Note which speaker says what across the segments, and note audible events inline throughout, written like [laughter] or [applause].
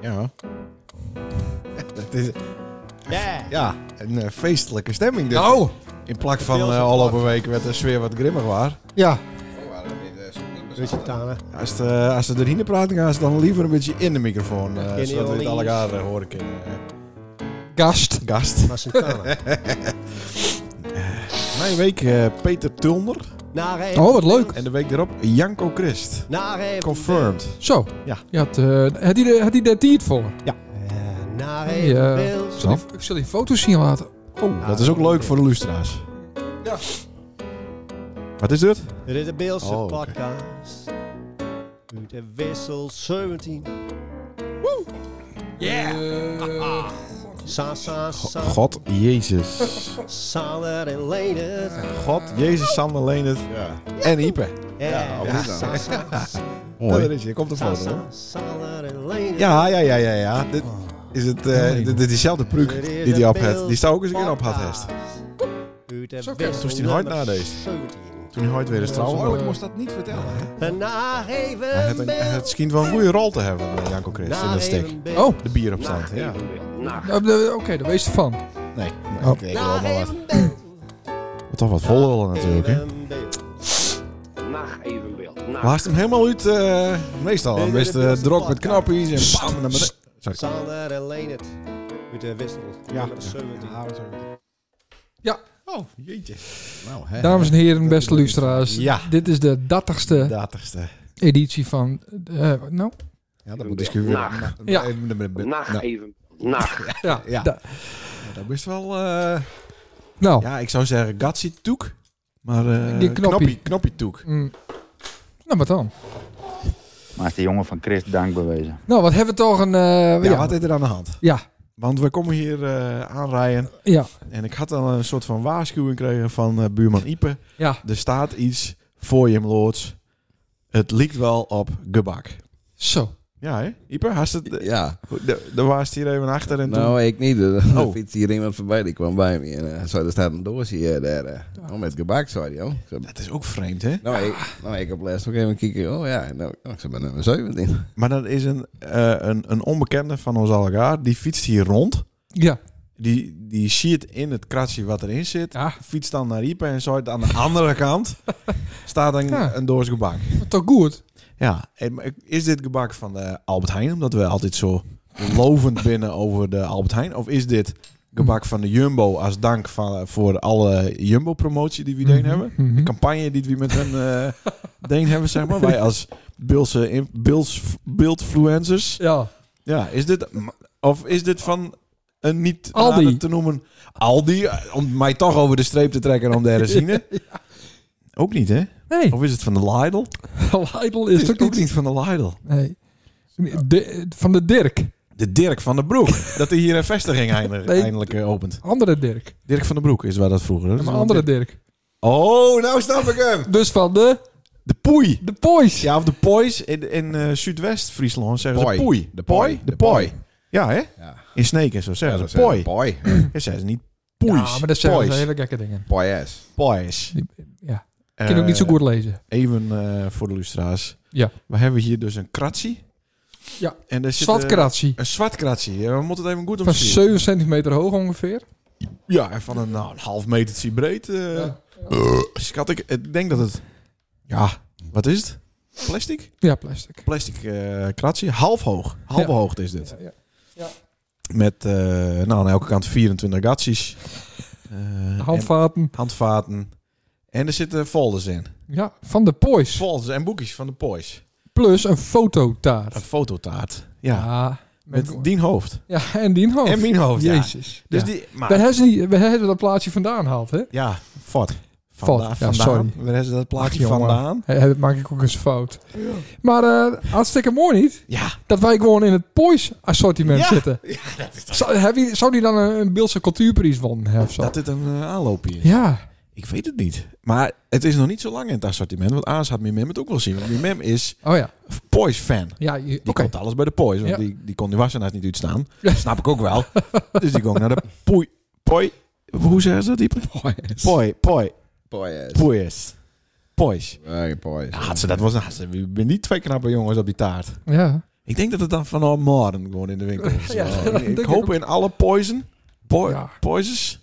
Speaker 1: Ja. [laughs] Dat is,
Speaker 2: Ja.
Speaker 1: ja, een eh, feestelijke stemming. Dit.
Speaker 3: Nou,
Speaker 1: In plak van
Speaker 2: Pils en
Speaker 1: eh al op een week werd de sfeer wat grimmig waar.
Speaker 3: ja.
Speaker 2: Beetje tane.
Speaker 1: Als de, als de erin praten, gaan ze dan liever een beetje in de microfoon. eh,
Speaker 2: Dat ken je
Speaker 1: zodat we het
Speaker 2: al
Speaker 1: alle
Speaker 2: niet.
Speaker 1: elkaar eh, horen kunnen. eh.
Speaker 3: Gast.
Speaker 1: Gast.
Speaker 2: Maar zijn tane.
Speaker 1: Mijn week eh, Peter Tulner.
Speaker 2: [laughs] Naar even.
Speaker 3: Oh, wat leuk.
Speaker 1: En de week daarop Janko Christ.
Speaker 2: Naar even.
Speaker 1: Confirmed.
Speaker 3: Zo.
Speaker 1: Ja.
Speaker 3: Je had, eh, had die de- had die de tiert voor?
Speaker 2: Eh,
Speaker 3: Ja.
Speaker 2: Naar even. Pils.
Speaker 3: Ik zal die- Ik zal die foto's zien later.
Speaker 1: Oh, dat is ook leuk voor de lustra's.
Speaker 3: Ja.
Speaker 1: Wat is dit?
Speaker 2: Dit is de Beelse
Speaker 1: Oh, oké.
Speaker 2: podcast. Uit de wissel 17.
Speaker 3: Yeah.
Speaker 2: Sa, sa, sa.
Speaker 1: God, Jezus.
Speaker 2: Sander en Lenert.
Speaker 1: God, Jezus, Sander, Leendert en Ipe.
Speaker 2: Ja,
Speaker 1: ja.
Speaker 2: sa, sa, sa,
Speaker 1: Mooi. Daar is je, komt er
Speaker 2: sa,
Speaker 1: voor. hoor.
Speaker 2: sa, Sander en Lenert.
Speaker 1: Ja, ja, ja, ja, ja. Dit is het, eh, dit- dit is diezelfde pruik
Speaker 2: Dit is
Speaker 1: die
Speaker 2: de
Speaker 1: hij op had.
Speaker 2: Beelse
Speaker 1: Die zou ook eens een keer op had.
Speaker 2: podcast.
Speaker 1: heeft.
Speaker 2: Uit de
Speaker 3: Zo, kijk,
Speaker 2: wissel
Speaker 1: toen is die hard
Speaker 2: nummer
Speaker 1: nadeed.
Speaker 2: 17.
Speaker 1: Toen hij ooit weer eens trouwen
Speaker 3: Sorry.
Speaker 1: wou.
Speaker 3: Eigenlijk moest
Speaker 4: dat niet vertellen.
Speaker 2: En Naar even.
Speaker 1: Hij had een- hij had
Speaker 2: Beels.
Speaker 1: schijnt wel een goede rol te hebben, eh, Janko Christ, in
Speaker 2: Naar
Speaker 1: dat steek.
Speaker 2: even. Beels.
Speaker 3: Oh.
Speaker 1: De bier op stand, ja.
Speaker 3: nou, Oké, daar wees je van.
Speaker 1: Nee, nee
Speaker 3: Oh.
Speaker 1: ik weet wel
Speaker 2: Naar
Speaker 1: maar wat.
Speaker 2: even. Beels.
Speaker 1: Maar toch wat vol willen natuurlijk, hè.
Speaker 5: Nacht evenbeeld. Nacht.
Speaker 1: Laatst hem helemaal uit, eh, meestal. Dan is de drok met knappies en bam, naar beneden. Sorry.
Speaker 2: Sander en Lenert. Met de wissel.
Speaker 4: Ja.
Speaker 2: Nummer 17.
Speaker 3: Ja.
Speaker 1: Oh, jeetje. Nou, hè.
Speaker 3: Dames en heren, beste luisteraars.
Speaker 1: Ja.
Speaker 3: Dit is de 30ste
Speaker 1: Datigste.
Speaker 3: editie van... eh, nou,
Speaker 1: Ja, dat moet discussiëren.
Speaker 5: Nacht.
Speaker 3: Ja.
Speaker 1: eh,
Speaker 5: Nacht even. Nacht.
Speaker 3: ja.
Speaker 1: Ja.
Speaker 3: da-
Speaker 1: nou, Dat is wel... eh,
Speaker 3: nou,
Speaker 1: Ja, ik zou zeggen Gatsi Toek. Maar eh
Speaker 3: Die knoppie.
Speaker 1: knoppie, knoppie Toek.
Speaker 3: mm. nou wat dan?
Speaker 6: Maar is de jongen van Christ dank bewezen.
Speaker 3: Nou, wat hebben we toch een... eh,
Speaker 1: Ja,
Speaker 3: ja,
Speaker 1: wat is er aan de hand?
Speaker 3: ja,
Speaker 1: Want we komen hier eh, aanrijden.
Speaker 3: ja,
Speaker 1: En ik had al een soort van waarschuwing gekregen van eh, buurman Ipe.
Speaker 3: ja.
Speaker 1: Er staat iets voor je, loods. Het liekt wel op gebak.
Speaker 3: Zo.
Speaker 1: Ja, hè? Ipe, had het... eh,
Speaker 7: Ja,
Speaker 1: de- Daar was het hier even achter en toen...
Speaker 7: nou ik niet. Er
Speaker 1: Oh.
Speaker 7: fietste hier iemand voorbij, die kwam bij me. En eh, hij zei, er staat een doosje hier, daar. eh, oh, met gebak, zei hij. Oh. Ik zei,
Speaker 1: Dat is ook vreemd, hè?
Speaker 7: Nou, ik, nou, ik heb les nog even kijken. Oh ja, nou, oh, ik ben nummer 17.
Speaker 1: Maar dat is een, eh, een, een onbekende van ons allegaar. Die fietst hier rond.
Speaker 3: Ja.
Speaker 1: Die, die ziet in het kratje wat erin zit.
Speaker 3: Ja,
Speaker 1: Fietst dan naar Ipe en zoiets aan de andere [laughs] kant. Staat een,
Speaker 3: Ja.
Speaker 1: een doos gebak.
Speaker 3: toch goed.
Speaker 1: Ja, en maar is dit gebak van de Albert Heijn? Omdat we altijd zo lovend binnen over de Albert Heijn. Of is dit gebak van de Jumbo als dank van, voor alle Jumbo-promotie die we deen hebben?
Speaker 3: Mhm, mhm.
Speaker 1: De campagne die we met hen eh deen hebben, zeg maar. Wij als Bilse in- Bils, Bildfluencers.
Speaker 3: Ja.
Speaker 1: Ja, is dit... Of is dit van een niet
Speaker 3: Aldi.
Speaker 1: nader te noemen Aldi? eh, Om mij toch over de streep te trekken om de herzien. Ook niet, hè? [laughs]
Speaker 3: Nee,
Speaker 1: Of is het van de Lidl?
Speaker 3: Lidl is
Speaker 1: het
Speaker 3: toch
Speaker 1: is ook
Speaker 3: niet...
Speaker 1: niet van de Lidl.
Speaker 3: Nee. De- van de Dirk.
Speaker 1: De Dirk van den Broek. dat hij hier een vestiging eindelijk,
Speaker 3: Nee.
Speaker 1: eindelijk eh, opent.
Speaker 3: Andere Dirk.
Speaker 1: Dirk van den Broek is waar dat vroeger. hè?
Speaker 3: Ja,
Speaker 1: Dat
Speaker 3: maar
Speaker 1: is
Speaker 3: andere
Speaker 1: wel een
Speaker 3: Dirk.
Speaker 1: Dirk. Oh, nou snap ik hem.
Speaker 3: Dus van de...
Speaker 1: De Poei.
Speaker 3: De Poys.
Speaker 1: Ja, of de Pois. In, in eh, Zuidwest-Friesland zeggen
Speaker 7: Poei.
Speaker 1: ze Poei.
Speaker 7: De Poei.
Speaker 1: De
Speaker 7: De
Speaker 1: Poei. Ja, hè?
Speaker 7: Ja.
Speaker 1: In Sneek en zo zeggen ze
Speaker 7: Poi.
Speaker 1: Poei.
Speaker 7: Poi.
Speaker 1: Ja, zeggen ze niet Poeis.
Speaker 3: Ja, maar dat zijn
Speaker 1: Pois.
Speaker 3: hele gekke dingen.
Speaker 7: Poyes.
Speaker 1: Pois.
Speaker 3: Die- ja. Ik kan ook niet zo goed lezen.
Speaker 1: Even eh, voor de lustra's.
Speaker 3: Ja.
Speaker 1: We hebben hier dus een kratzie.
Speaker 3: Ja.
Speaker 1: En daar zit, eh,
Speaker 3: Zwartkratzie.
Speaker 1: Een zwart kratzie. Ja, We moeten het even goed
Speaker 3: Van
Speaker 1: omschrijven.
Speaker 3: 7 centimeter hoog ongeveer.
Speaker 1: Ja, en van een, nou, een half metertje breed. eh,
Speaker 3: Ja.
Speaker 1: eh, schat ik, ik denk dat het... Ja, wat is het? Plastic?
Speaker 3: Ja, plastic.
Speaker 1: Plastic eh kratje. Half hoog. Halve
Speaker 3: Ja.
Speaker 1: hoogte is dit.
Speaker 3: Ja, ja. Ja.
Speaker 1: Met eh, nou, aan elke kant 24 gatsies. Eh, en
Speaker 3: Handvaten.
Speaker 1: handvaten. En er zitten folders in.
Speaker 3: Ja, van de Poys.
Speaker 1: Folders en boekjes van de Poys.
Speaker 3: Plus een
Speaker 1: Een
Speaker 3: fototaart.
Speaker 1: fototaart. Ja,
Speaker 3: met,
Speaker 1: met dien hoofd.
Speaker 3: ja, en die hoofd.
Speaker 1: En mijn hoofd, ja.
Speaker 3: Jezus.
Speaker 1: Dus
Speaker 3: Oh, Ja.
Speaker 1: die... Maar,
Speaker 3: Daar hebben ze niet, we hebben dat plaatje vandaan gehaald, hè?
Speaker 1: ja, fort.
Speaker 3: Fort, ja, sorry.
Speaker 1: Waar hebben ze dat plaatje
Speaker 3: jongen.
Speaker 1: vandaan?
Speaker 3: Hé, hé, maak ik ook eens fout. Maar eh, hartstikke mooi niet?
Speaker 1: Ja,
Speaker 3: Dat wij gewoon in het Poys assortiment
Speaker 1: Ja.
Speaker 3: zitten. Zou, heb je, zou die dan een, een Beeldse cultuurprijs wonnen hebben of zo?
Speaker 1: dat dit een eh, aanloopje is.
Speaker 3: ja.
Speaker 1: Ik weet het niet. Maar het is nog niet zo lang in het assortiment. Want Aas had Mimim het ook wel zien. Want Mimim is
Speaker 3: Oh ja.
Speaker 1: Poise-fan. Die
Speaker 3: Ja, je- oké.
Speaker 1: koopt alles bij de Poise. Want
Speaker 3: Ja.
Speaker 1: die, die kon die wassenaars niet uitstaan.
Speaker 3: [laughs] Ja.
Speaker 1: Snap ik ook wel. dus die kon naar de Poi... Poi... Hoe zeggen ze dat, Diepe?
Speaker 7: Poyes.
Speaker 1: Poi... Poi...
Speaker 7: Poyes.
Speaker 1: Poise. Poise.
Speaker 7: Poyes.
Speaker 1: Oh, Ja, had ze dat was... had ze- Ik ben niet twee knappe jongens op die taart.
Speaker 3: Ja.
Speaker 1: Ik denk dat het dan vanaf morgen gewoon in de winkel is.
Speaker 3: [laughs] Ja,
Speaker 1: Zo.
Speaker 3: dat
Speaker 1: ik,
Speaker 3: denk ik
Speaker 1: hoop
Speaker 3: ook.
Speaker 1: in alle poison. po-
Speaker 3: Ja.
Speaker 1: Poisons.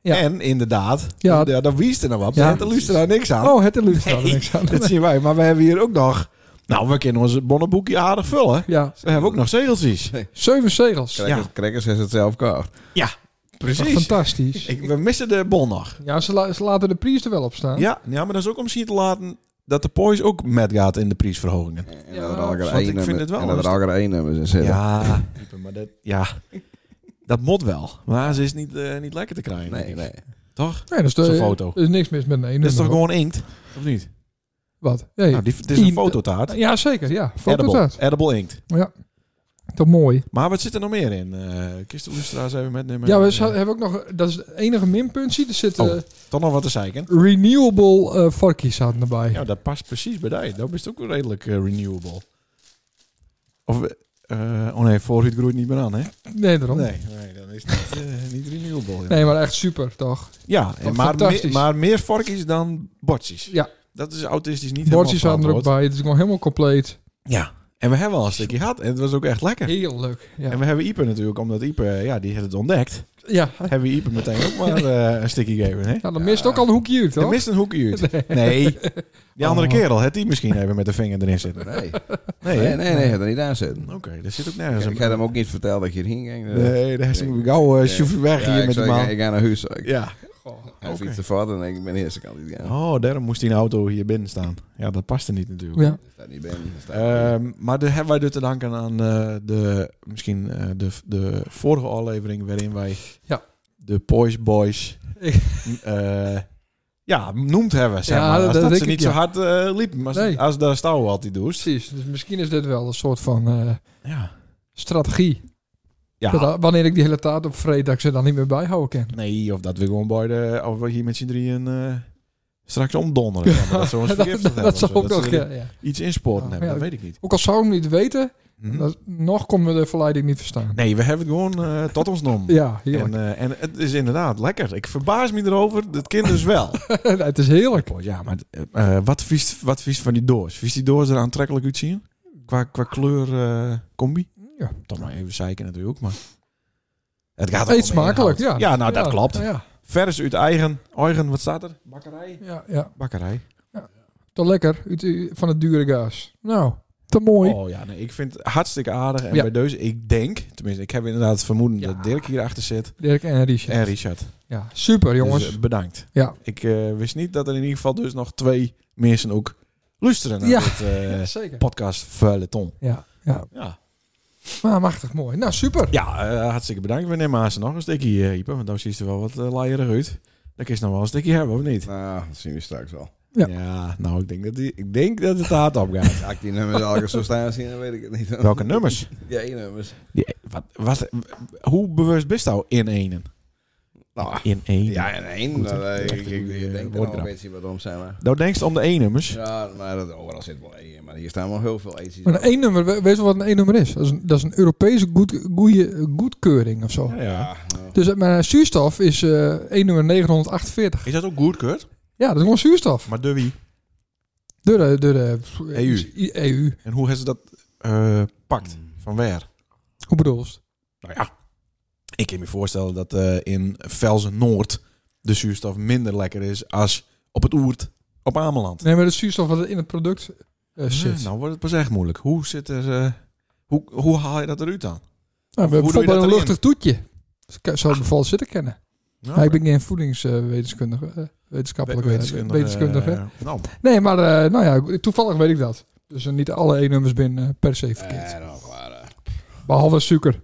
Speaker 3: Ja.
Speaker 1: En inderdaad,
Speaker 3: Ja.
Speaker 1: ja. dan wiest er nou wat.
Speaker 3: Ja.
Speaker 1: Ja. Dan luistert daar niks aan.
Speaker 3: Oh, het illusie staat er niks aan.
Speaker 1: Dat zien wij. Maar we hebben hier ook nog... Nou, we kunnen ons bonnenboekje aardig vullen. [laughs]
Speaker 3: Ja,
Speaker 1: We hebben ook nog zegeltjes.
Speaker 3: zeven zegels.
Speaker 1: Ja.
Speaker 7: Crackers, Crackers heeft het zelf gekocht.
Speaker 1: Precies.
Speaker 3: Fantastisch.
Speaker 1: Ik, we missen de bon nog.
Speaker 3: Ja, ze, la- ze laten de prijs er wel op staan.
Speaker 1: Ja, ja, maar dat is ook om misschien te laten dat de poise ook met gaat in de prijsverhogingen.
Speaker 7: En
Speaker 3: Ja,
Speaker 7: dat er al
Speaker 3: want
Speaker 7: geen
Speaker 1: ik
Speaker 7: één
Speaker 1: vind
Speaker 7: nummer-
Speaker 1: het wel
Speaker 7: En dat er al geen één nummers in zitten.
Speaker 1: Ja, diepe, maar dat, ja, dat moet wel. Maar ze is niet, eh, niet lekker te krijgen.
Speaker 7: Nee,
Speaker 1: denk ik.
Speaker 7: nee.
Speaker 1: Toch?
Speaker 3: Nee, dat is de,
Speaker 1: Zo'n foto.
Speaker 3: Er is niks mis met een ene.
Speaker 1: Dat is toch
Speaker 3: nummer.
Speaker 1: gewoon inkt? Of niet?
Speaker 3: Wat? Nee.
Speaker 1: Nou, die, het is een
Speaker 3: In-
Speaker 1: fototaart.
Speaker 3: Ja, zeker. Ja, foto's
Speaker 1: edible,
Speaker 3: uit.
Speaker 1: edible inkt.
Speaker 3: Toch mooi.
Speaker 1: Maar wat zit er nog meer in? Eh Kist de Oesteraars even metnemen.
Speaker 3: Ja, we
Speaker 1: En,
Speaker 3: za-
Speaker 1: eh,
Speaker 3: hebben ook nog... Dat is het enige minpuntje. Er zit
Speaker 1: Oh.
Speaker 3: eh,
Speaker 1: Toch nog wat te zeiken.
Speaker 3: renewable eh varkies aan erbij.
Speaker 1: Ja, dat past precies bij die. Dat is ook wel redelijk eh, renewable. Of... eh, oh nee, vooruit groeit niet meer aan, hè?
Speaker 3: Nee, daarom. Nee.
Speaker 1: Nee, nee, dan is het niet, eh, niet renewable. ja.
Speaker 3: Oh. maar echt super, toch?
Speaker 1: Ja, en maar,
Speaker 3: fantastisch.
Speaker 1: meer- maar meer vorkjes dan bordjes.
Speaker 3: Ja.
Speaker 1: Dat is autistisch niet
Speaker 3: Bordjes
Speaker 1: helemaal
Speaker 3: aan er ook
Speaker 1: verantwoord.
Speaker 3: bij. Het is gewoon helemaal compleet.
Speaker 1: Ja, en we hebben al een stukje gehad en het was ook echt lekker.
Speaker 3: Heel leuk.
Speaker 1: En
Speaker 3: Ja.
Speaker 1: we hebben Ieper natuurlijk, omdat Ieper, ja, die heeft het ontdekt.
Speaker 3: ja.
Speaker 1: Hebben we Ieper meteen ook
Speaker 7: [laughs]
Speaker 1: maar eh, een stukje gegeven, hè?
Speaker 3: Nou, dan mist ook al een hoekje uit,
Speaker 1: Er
Speaker 3: toch?
Speaker 1: mist een hoekje uit. Nee, die andere
Speaker 3: Oh.
Speaker 1: kerel, het die misschien even met de vinger erin zitten.
Speaker 7: Nee,
Speaker 1: Nee,
Speaker 7: nee,
Speaker 1: hè?
Speaker 7: nee, nee, gaat er niet aan zitten.
Speaker 1: Oké, daar zit ook nergens
Speaker 7: Ik
Speaker 1: een...
Speaker 7: had hem ook niet verteld dat je heen ging. dus-
Speaker 1: Nee, daar is hij gauw eh, sjoef weg
Speaker 7: Ja,
Speaker 1: hier
Speaker 7: ik
Speaker 1: met die
Speaker 7: zei, ik-
Speaker 1: man.
Speaker 7: Ik ga naar huis. Ik
Speaker 1: Ja.
Speaker 7: hij
Speaker 1: oké.
Speaker 7: fietst te vaart en ik ben de eerste kant niet gaan.
Speaker 1: Oh, daarom moest die auto hier binnen staan. Ja, dat paste niet natuurlijk.
Speaker 3: Ja.
Speaker 7: Daar staat niet binnen. daar staat niet binnen.
Speaker 1: Ehm, maar daar hebben wij dus te danken aan eh, de, misschien eh, de, de vorige aflevering waarin wij
Speaker 3: Ja.
Speaker 1: de Poise Boys
Speaker 3: Ik-
Speaker 1: m- eh, ja, noemd hebben. Zeg
Speaker 3: Ja,
Speaker 1: maar. Als
Speaker 3: dat
Speaker 1: dat,
Speaker 3: denk
Speaker 1: ze
Speaker 3: ik,
Speaker 1: niet
Speaker 3: ja.
Speaker 1: zo hard eh, liepen, maar als-
Speaker 3: Nee.
Speaker 1: als daar Stouw had die doest.
Speaker 3: Precies. Dus misschien is dit wel een soort van eh,
Speaker 1: Ja.
Speaker 3: strategie.
Speaker 1: ja.
Speaker 3: Dat- wanneer ik die hele taart op vreet, dat ik ze dan niet meer bijhouden kan.
Speaker 1: Nee, of dat we gewoon bij de, of we hier met z'n drieën eh, straks omdonderen. Ja, maar dat ze ons
Speaker 3: [laughs] dat,
Speaker 1: vergiftigd
Speaker 3: dat,
Speaker 1: hebben of
Speaker 3: zou
Speaker 1: zo.
Speaker 3: ook
Speaker 1: Dat
Speaker 3: nog,
Speaker 1: ze
Speaker 3: ja,
Speaker 1: er
Speaker 3: ja.
Speaker 1: iets insporten
Speaker 3: Ja,
Speaker 1: hebben,
Speaker 3: ja.
Speaker 1: dat weet ik niet.
Speaker 3: Ook al zou ik hem niet weten,
Speaker 1: Mhm.
Speaker 3: dat, nog kon me de verleiding niet verstaan.
Speaker 1: Nee, we hebben het gewoon eh, tot ons genomen.
Speaker 3: Ja, heerlijk.
Speaker 1: En, eh, en het is inderdaad lekker. Ik verbaas me erover. Dat kind dus [laughs] wel.
Speaker 3: [laughs] Nee, het is heerlijk.
Speaker 1: ja, maar eh, wat vies wat vies van die doos? Vies die doos er aantrekkelijk uitzien? Qua, qua kleur eh, combi?
Speaker 3: Ja.
Speaker 1: Toch maar even zeiken natuurlijk, maar... Het gaat
Speaker 3: Eet
Speaker 1: ook om de
Speaker 3: smakelijk, ja.
Speaker 1: inhoud. Ja, nou, dat klopt.
Speaker 3: Ja,
Speaker 1: Vers uit eigen... Eigen, wat staat er? Bakkerij?
Speaker 3: ja, ja.
Speaker 1: Bakkerij.
Speaker 3: Te lekker uit, eh, van het dure gaas. Nou, te mooi.
Speaker 1: Oh ja, nee, ik vind het hartstikke aardig. En
Speaker 3: Ja.
Speaker 1: bij deze, ik denk... Tenminste, ik heb inderdaad het vermoeden
Speaker 3: Ja.
Speaker 1: dat Dirk hierachter zit.
Speaker 3: Dirk en Richard.
Speaker 1: En Richard.
Speaker 3: Ja, super jongens.
Speaker 1: Dus, eh, bedankt.
Speaker 3: Ja.
Speaker 1: Ik eh, wist niet dat er in ieder geval dus nog twee mensen ook luisteren naar
Speaker 3: Ja.
Speaker 1: dit eh,
Speaker 3: Ja, zeker.
Speaker 1: podcast Vuileton.
Speaker 3: Ja, ja.
Speaker 1: Ja,
Speaker 3: Maar machtig mooi. Nou, super.
Speaker 1: ja eh, hartstikke bedankt. We nemen haast nog een stukje, eh, Ieper, want dan ziet er wel wat eh, laaierig uit. Dan kun je nog wel een stukje hebben, of niet?
Speaker 7: Nou, dat zien we straks wel.
Speaker 3: Ja.
Speaker 1: Ja, nou, ik denk, dat die, ik denk dat het hard op gaat.
Speaker 7: Als ik die nummers al zo staan zien, dan weet ik het niet.
Speaker 1: [laughs] Welke nummers?
Speaker 7: [laughs] Ja, één nummers.
Speaker 1: Die, wat, wat, hoe bewust bist nou in enen?
Speaker 7: Nou,
Speaker 1: In enen.
Speaker 7: ja, en één.
Speaker 1: Ah, Goed, hè?
Speaker 7: nou, eh,
Speaker 1: Echt
Speaker 7: Ik
Speaker 1: een
Speaker 7: ik-
Speaker 1: goede,
Speaker 7: ik
Speaker 1: eh,
Speaker 7: denk dat er
Speaker 1: woordgrap.
Speaker 7: nog mensen wat om zijn. maar-
Speaker 1: Nou, denkst om de E-nummers?
Speaker 7: Ja, maar dat, overal zit wel één in. Maar hier staan wel heel veel eetjes.
Speaker 3: Maar een één nummer, we- weet je wat een één nummer is? Dat is een, dat is een Europese goed, goeie, goedkeuring of zo.
Speaker 1: Ja, ja.
Speaker 7: Ja, nou.
Speaker 3: Dus eh, maar zuurstof is eh één nummer 948.
Speaker 1: Is dat ook goedkeurd?
Speaker 3: Ja, dat is gewoon zuurstof.
Speaker 1: Maar E de wie?
Speaker 3: Door de, door de pff,
Speaker 1: EU.
Speaker 3: I- E EU.
Speaker 1: En hoe hebben ze dat eh pakt? Van waar?
Speaker 3: Hoe bedoel je het?
Speaker 1: Nou ja, ik kan me voorstellen dat eh, in Velzen Noord de zuurstof minder lekker is als op het Oert op Ameland.
Speaker 3: Nee, maar de zuurstof wat in het product eh, zit.
Speaker 1: Nee, nou wordt het pas echt moeilijk. Hoe zit er... eh, hoe, hoe haal je dat eruit dan? Hoe
Speaker 3: Nou,
Speaker 1: doe je
Speaker 3: bijvoorbeeld
Speaker 1: dat
Speaker 3: een
Speaker 1: erin? Ah.
Speaker 3: luchtig toetje. Dus ik zou het bijvoorbeeld zitten kennen.
Speaker 1: Nou,
Speaker 3: Maar ik ben geen voedingswetenschapper. wetenschappelijk
Speaker 1: wetenskundige,
Speaker 3: wetenschappelijk wetenschapper.
Speaker 1: eh, nou,
Speaker 3: Nee, maar eh, nou ja, toevallig weet ik dat. Dus eh, niet alle E-nummers binnen eh, per se verkeerd.
Speaker 7: Ja, nou, klaar, eh.
Speaker 3: Behalve suiker.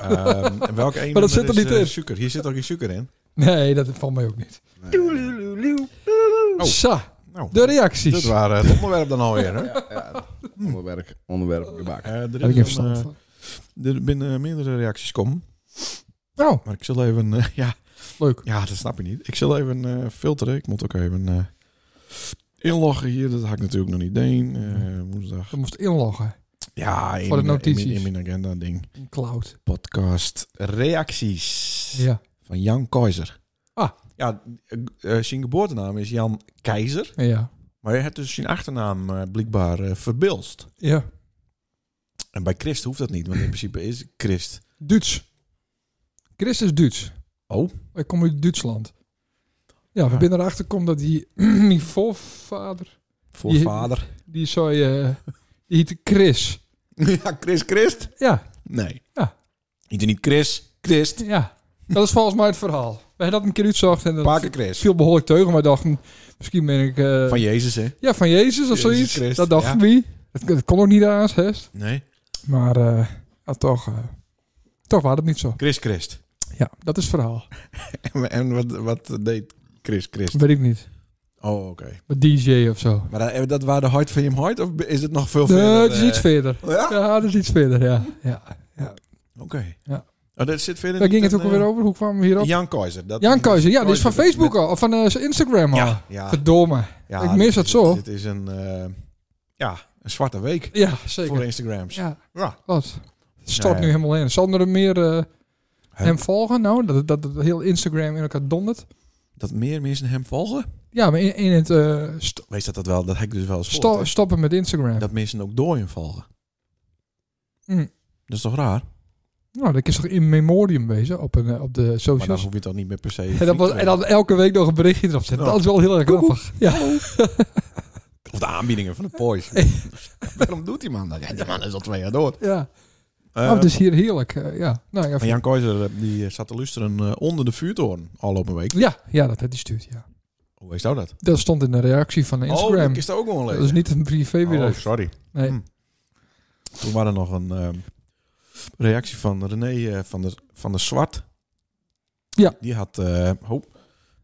Speaker 1: ehm, en
Speaker 3: [laughs]
Speaker 1: welke een
Speaker 3: Maar dat zit er
Speaker 1: is,
Speaker 3: niet
Speaker 1: eh,
Speaker 3: in.
Speaker 1: Suiker. Hier zit ook geen suiker in.
Speaker 3: Nee, dat valt mij ook niet.
Speaker 1: Oh.
Speaker 3: Sa,
Speaker 1: Nou,
Speaker 3: de
Speaker 1: dat
Speaker 3: reacties.
Speaker 1: waren het onderwerp dan alweer.
Speaker 3: [laughs]
Speaker 1: Hè?
Speaker 7: Ja, ja. Onderwerp, onderwerp gebak.
Speaker 1: Eh, er
Speaker 3: Daar heb ik geen
Speaker 1: is een,
Speaker 3: verstand
Speaker 1: eh,
Speaker 3: van.
Speaker 1: er binnen meerdere reacties komen.
Speaker 3: Nou,
Speaker 1: Maar ik zal even... eh, [laughs] ja,
Speaker 3: leuk.
Speaker 1: Ja, dat snap je niet. Ik zal even eh, filteren. Ik moet ook even eh, inloggen hier. Dat had ik natuurlijk nog niet deed. Eh, woensdag.
Speaker 3: Je moest inloggen.
Speaker 1: Ja, in,
Speaker 3: Voor de
Speaker 1: mijn- in
Speaker 3: notities.
Speaker 1: mijn- In, mijn agenda ding.
Speaker 3: In cloud.
Speaker 1: Podcast reacties
Speaker 3: Ja.
Speaker 1: van Jan Keizer.
Speaker 3: Ah.
Speaker 1: Ja, eh, eh, zijn geboortenaam is Jan Keizer.
Speaker 3: Ja.
Speaker 1: Maar hij heeft dus zijn achternaam eh, blijkbaar eh verbilst.
Speaker 3: Ja.
Speaker 1: En bij Christ hoeft dat niet, want in principe is Christ.
Speaker 3: Duits. Christus Duits.
Speaker 1: Oh.
Speaker 3: Ik kom uit Duitsland. Ja, we
Speaker 1: Ah.
Speaker 3: binnen erachter komt dat die, [clears throat] mijn voorvader,
Speaker 1: Voor
Speaker 3: Je-
Speaker 1: vader.
Speaker 3: die zo, eh die heette Chris.
Speaker 1: [laughs] ja, Chris Christ?
Speaker 3: Ja,
Speaker 1: Nee.
Speaker 3: Ja.
Speaker 1: Niet niet Chris, Christ.
Speaker 3: ja. Dat is volgens mij het verhaal. We hebben dat een keer uitzocht en dat
Speaker 1: Paken Chris.
Speaker 3: viel behoorlijk teugen. Maar we dachten, misschien ben ik... eh,
Speaker 1: Van Jezus, hè?
Speaker 3: ja, van Jezus of
Speaker 1: Jezus
Speaker 3: zoiets.
Speaker 1: Christus,
Speaker 3: dat dachten
Speaker 1: ja.
Speaker 3: we. Dat, dat kon ook niet haast, hè.
Speaker 1: Nee.
Speaker 3: E Maar eh, ja, toch, eh, toch was het niet zo.
Speaker 1: Chris Christ.
Speaker 3: Ja, dat is het verhaal.
Speaker 1: En, en wat, wat deed Chris Christ?
Speaker 3: Weet ik niet.
Speaker 1: Oh, oké.
Speaker 3: Met DJ of zo.
Speaker 1: Maar dat, dat waren de hart van Jim Hart? Of is het nog veel
Speaker 3: Nee,
Speaker 1: verder?
Speaker 3: het is iets
Speaker 1: eh,
Speaker 3: verder.
Speaker 1: Ja?
Speaker 3: Ja, dat is iets verder, ja. ja.
Speaker 1: Oké.
Speaker 3: Ja.
Speaker 1: Oh, dat zit verder
Speaker 3: Daar ging
Speaker 1: niet
Speaker 3: het ook
Speaker 1: dan,
Speaker 3: alweer
Speaker 1: eh,
Speaker 3: over. Hoe kwamen we hierop?
Speaker 1: Jan Keizer. Dat
Speaker 3: Jan Keizer, ja, die is van
Speaker 1: Keizer, dat-
Speaker 3: Facebook al. Of van eh, zijn Instagram al.
Speaker 1: Ja, ja.
Speaker 3: Verdomme.
Speaker 1: Ja,
Speaker 3: Ik mis
Speaker 1: dit-
Speaker 3: dat zo.
Speaker 1: Dit is een, eh, ja, een zwarte week
Speaker 3: Ja,
Speaker 1: voor
Speaker 3: zeker.
Speaker 1: Instagrams.
Speaker 3: Ja,
Speaker 1: Ja.
Speaker 3: klopt. Het Stort
Speaker 1: Nee.
Speaker 3: nu helemaal in. Zal er meer eh,
Speaker 1: Hè?
Speaker 3: hem volgen? Nou, dat, dat, dat heel Instagram in elkaar dondert.
Speaker 1: Dat meer mensen hem volgen?
Speaker 3: Ja, maar in, in het eh, sto-
Speaker 1: Wees dat dat wel, dat heb ik dus wel eens
Speaker 3: sto-
Speaker 1: gehoord, hè.
Speaker 3: stoppen met Instagram.
Speaker 1: Dat mensen ook door hem volgen.
Speaker 3: Hm.
Speaker 1: Dat is toch raar?
Speaker 3: Nou, dat is toch in memoriam wezen op, een, eh, op de
Speaker 1: Maar dan
Speaker 3: socials.
Speaker 1: hoef je het dan niet meer per se...
Speaker 3: En dan,
Speaker 1: vriend
Speaker 3: was,
Speaker 1: te
Speaker 3: en dan elke week nog een berichtje erop zetten.
Speaker 1: Ja.
Speaker 3: Dat is wel heel erg grappig. Ja.
Speaker 1: worden. Of de aanbiedingen van de
Speaker 3: [laughs]
Speaker 1: Porsche. Waarom doet die man dat? Ja, die man is al twee jaar dood.
Speaker 3: ja.
Speaker 1: Eh,
Speaker 3: Oh, het is hier heerlijk. eh, ja. Nou, ja,
Speaker 1: maar Jan Keizer eh, die eh, zat te luisteren eh, onder de vuurtoren afgelopen week.
Speaker 3: ja, ja, dat had hij stuurd. Ja.
Speaker 1: Hoe is nou dat?
Speaker 3: Dat stond in de reactie van
Speaker 1: Oh,
Speaker 3: Instagram.
Speaker 1: ik is dat ook nog wel
Speaker 3: dat
Speaker 1: lezen.
Speaker 3: is niet een privébericht.
Speaker 1: Oh, sorry.
Speaker 3: nee.
Speaker 1: hm. Toen waren er nog een ehm, reactie van René eh, van, de, van de Zwart.
Speaker 3: Ja.
Speaker 1: Die had, eh, ho,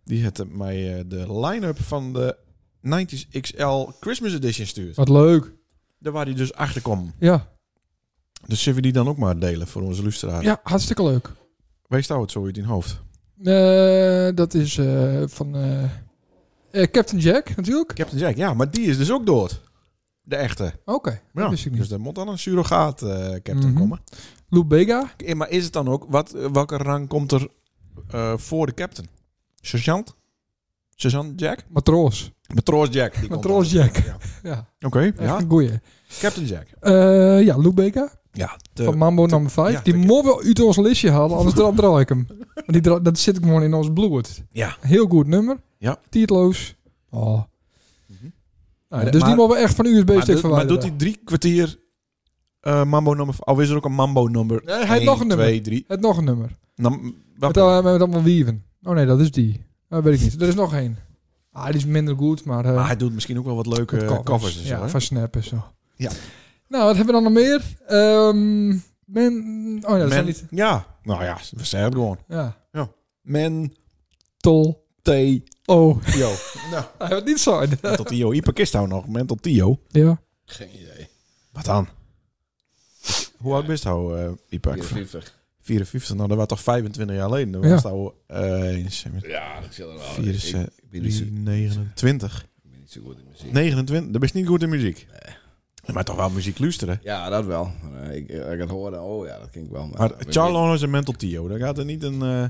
Speaker 1: die had eh, mij eh, de line-up van de 90s XL Christmas Edition stuurd.
Speaker 3: Wat leuk.
Speaker 1: Daar waar hij dus achter kwam.
Speaker 3: Ja.
Speaker 1: Dus zullen we die dan ook maar delen voor onze luisteraars?
Speaker 3: ja, hartstikke leuk.
Speaker 1: Wees nou het zo uit in hoofd.
Speaker 3: Eh, dat is eh, van eh, eh, Captain Jack natuurlijk.
Speaker 1: Captain Jack, ja, maar die is dus ook dood. De echte.
Speaker 3: Oké, dat
Speaker 1: Ja,
Speaker 3: wist ik niet.
Speaker 1: Dus er moet dan een surrogaat eh, captain
Speaker 3: Mhm.
Speaker 1: komen.
Speaker 3: Lou Bega.
Speaker 1: Eh, Maar is het dan ook, wat, eh, welke rang komt er eh, voor de captain? Sergeant? Sergeant Jack?
Speaker 3: Matroos.
Speaker 1: Matroos Jack. die komt
Speaker 3: Matroos
Speaker 1: dan.
Speaker 3: Jack.
Speaker 1: Ja.
Speaker 3: Ja,
Speaker 1: Oké,
Speaker 3: echt
Speaker 1: ja.
Speaker 3: een goeie.
Speaker 1: Captain Jack.
Speaker 3: Eh, ja, Lou Bega
Speaker 1: Ja,
Speaker 3: van
Speaker 1: de,
Speaker 3: Mambo
Speaker 1: de-
Speaker 3: nummer 5.
Speaker 1: Eh, ja,
Speaker 3: die
Speaker 1: de-
Speaker 3: moet wel uit ons listje halen, anders dan draai ik hem. Want die dra- dat zit gewoon in ons bloed.
Speaker 1: Ja.
Speaker 3: Heel goed nummer.
Speaker 1: Ja.
Speaker 3: Titloos. Oh.
Speaker 1: Mhm.
Speaker 3: Nou,
Speaker 1: Maar-
Speaker 3: dus die
Speaker 1: maar-
Speaker 3: mogen we echt van een USB-stick
Speaker 1: maar, doet-
Speaker 3: verwijderen.
Speaker 1: maar doet hij drie kwartier eh, mambo nummer... Oh, is er ook een mambo nummer?
Speaker 3: Nee, hij heeft nog een
Speaker 1: twee, drie. Nou,
Speaker 3: Het nog een nummer.
Speaker 1: Dan,
Speaker 3: Met,
Speaker 1: wacht even.
Speaker 3: al- met allemaal wieven. Oh nee, dat is die. Dat weet ik niet. Er is nog één. Ah, die is minder goed, maar... eh,
Speaker 1: maar hij doet misschien ook wel wat leuke
Speaker 3: Met
Speaker 1: covers. en zo,
Speaker 3: ja,
Speaker 1: hè?
Speaker 3: van Snap en zo.
Speaker 1: Ja.
Speaker 3: Nou, wat hebben we dan nog meer? Ehm men... Oh ja, dat
Speaker 1: Men-
Speaker 3: zijn niet...
Speaker 1: Ja, nou ja, we zeggen het gewoon.
Speaker 3: Ja.
Speaker 1: Men,
Speaker 3: Tol.
Speaker 1: T,
Speaker 3: Oh.
Speaker 1: Yo. nou,
Speaker 3: Hij wil
Speaker 1: [laughs]
Speaker 3: niet zo.
Speaker 1: mental Tio. Ipa kist nou nog. Mental Tio.
Speaker 3: ja.
Speaker 7: Geen idee.
Speaker 1: Wat dan? Hoe oud bist nou, eh Ipa? Ik vraag-
Speaker 7: 54.
Speaker 1: 54. Nou, dat was toch 25 jaar geleden? Dat
Speaker 3: Ja.
Speaker 1: was nou... eh, eens met
Speaker 7: Ja, dat zal er wel.
Speaker 1: Vier is,
Speaker 7: Ik-
Speaker 1: eh,
Speaker 7: Ik ben niet zo-
Speaker 1: 29.
Speaker 7: ik ben niet zo goed in muziek.
Speaker 1: 29, dat is niet goed in muziek. Maar toch wel muziek luisteren.
Speaker 7: Ja, dat wel. Maar, eh, ik, eh, ik het hoorde, oh ja, dat klinkt wel.
Speaker 1: Maar
Speaker 7: dat weet ik
Speaker 1: Charles is een mental Tio. Daar gaat er niet een eh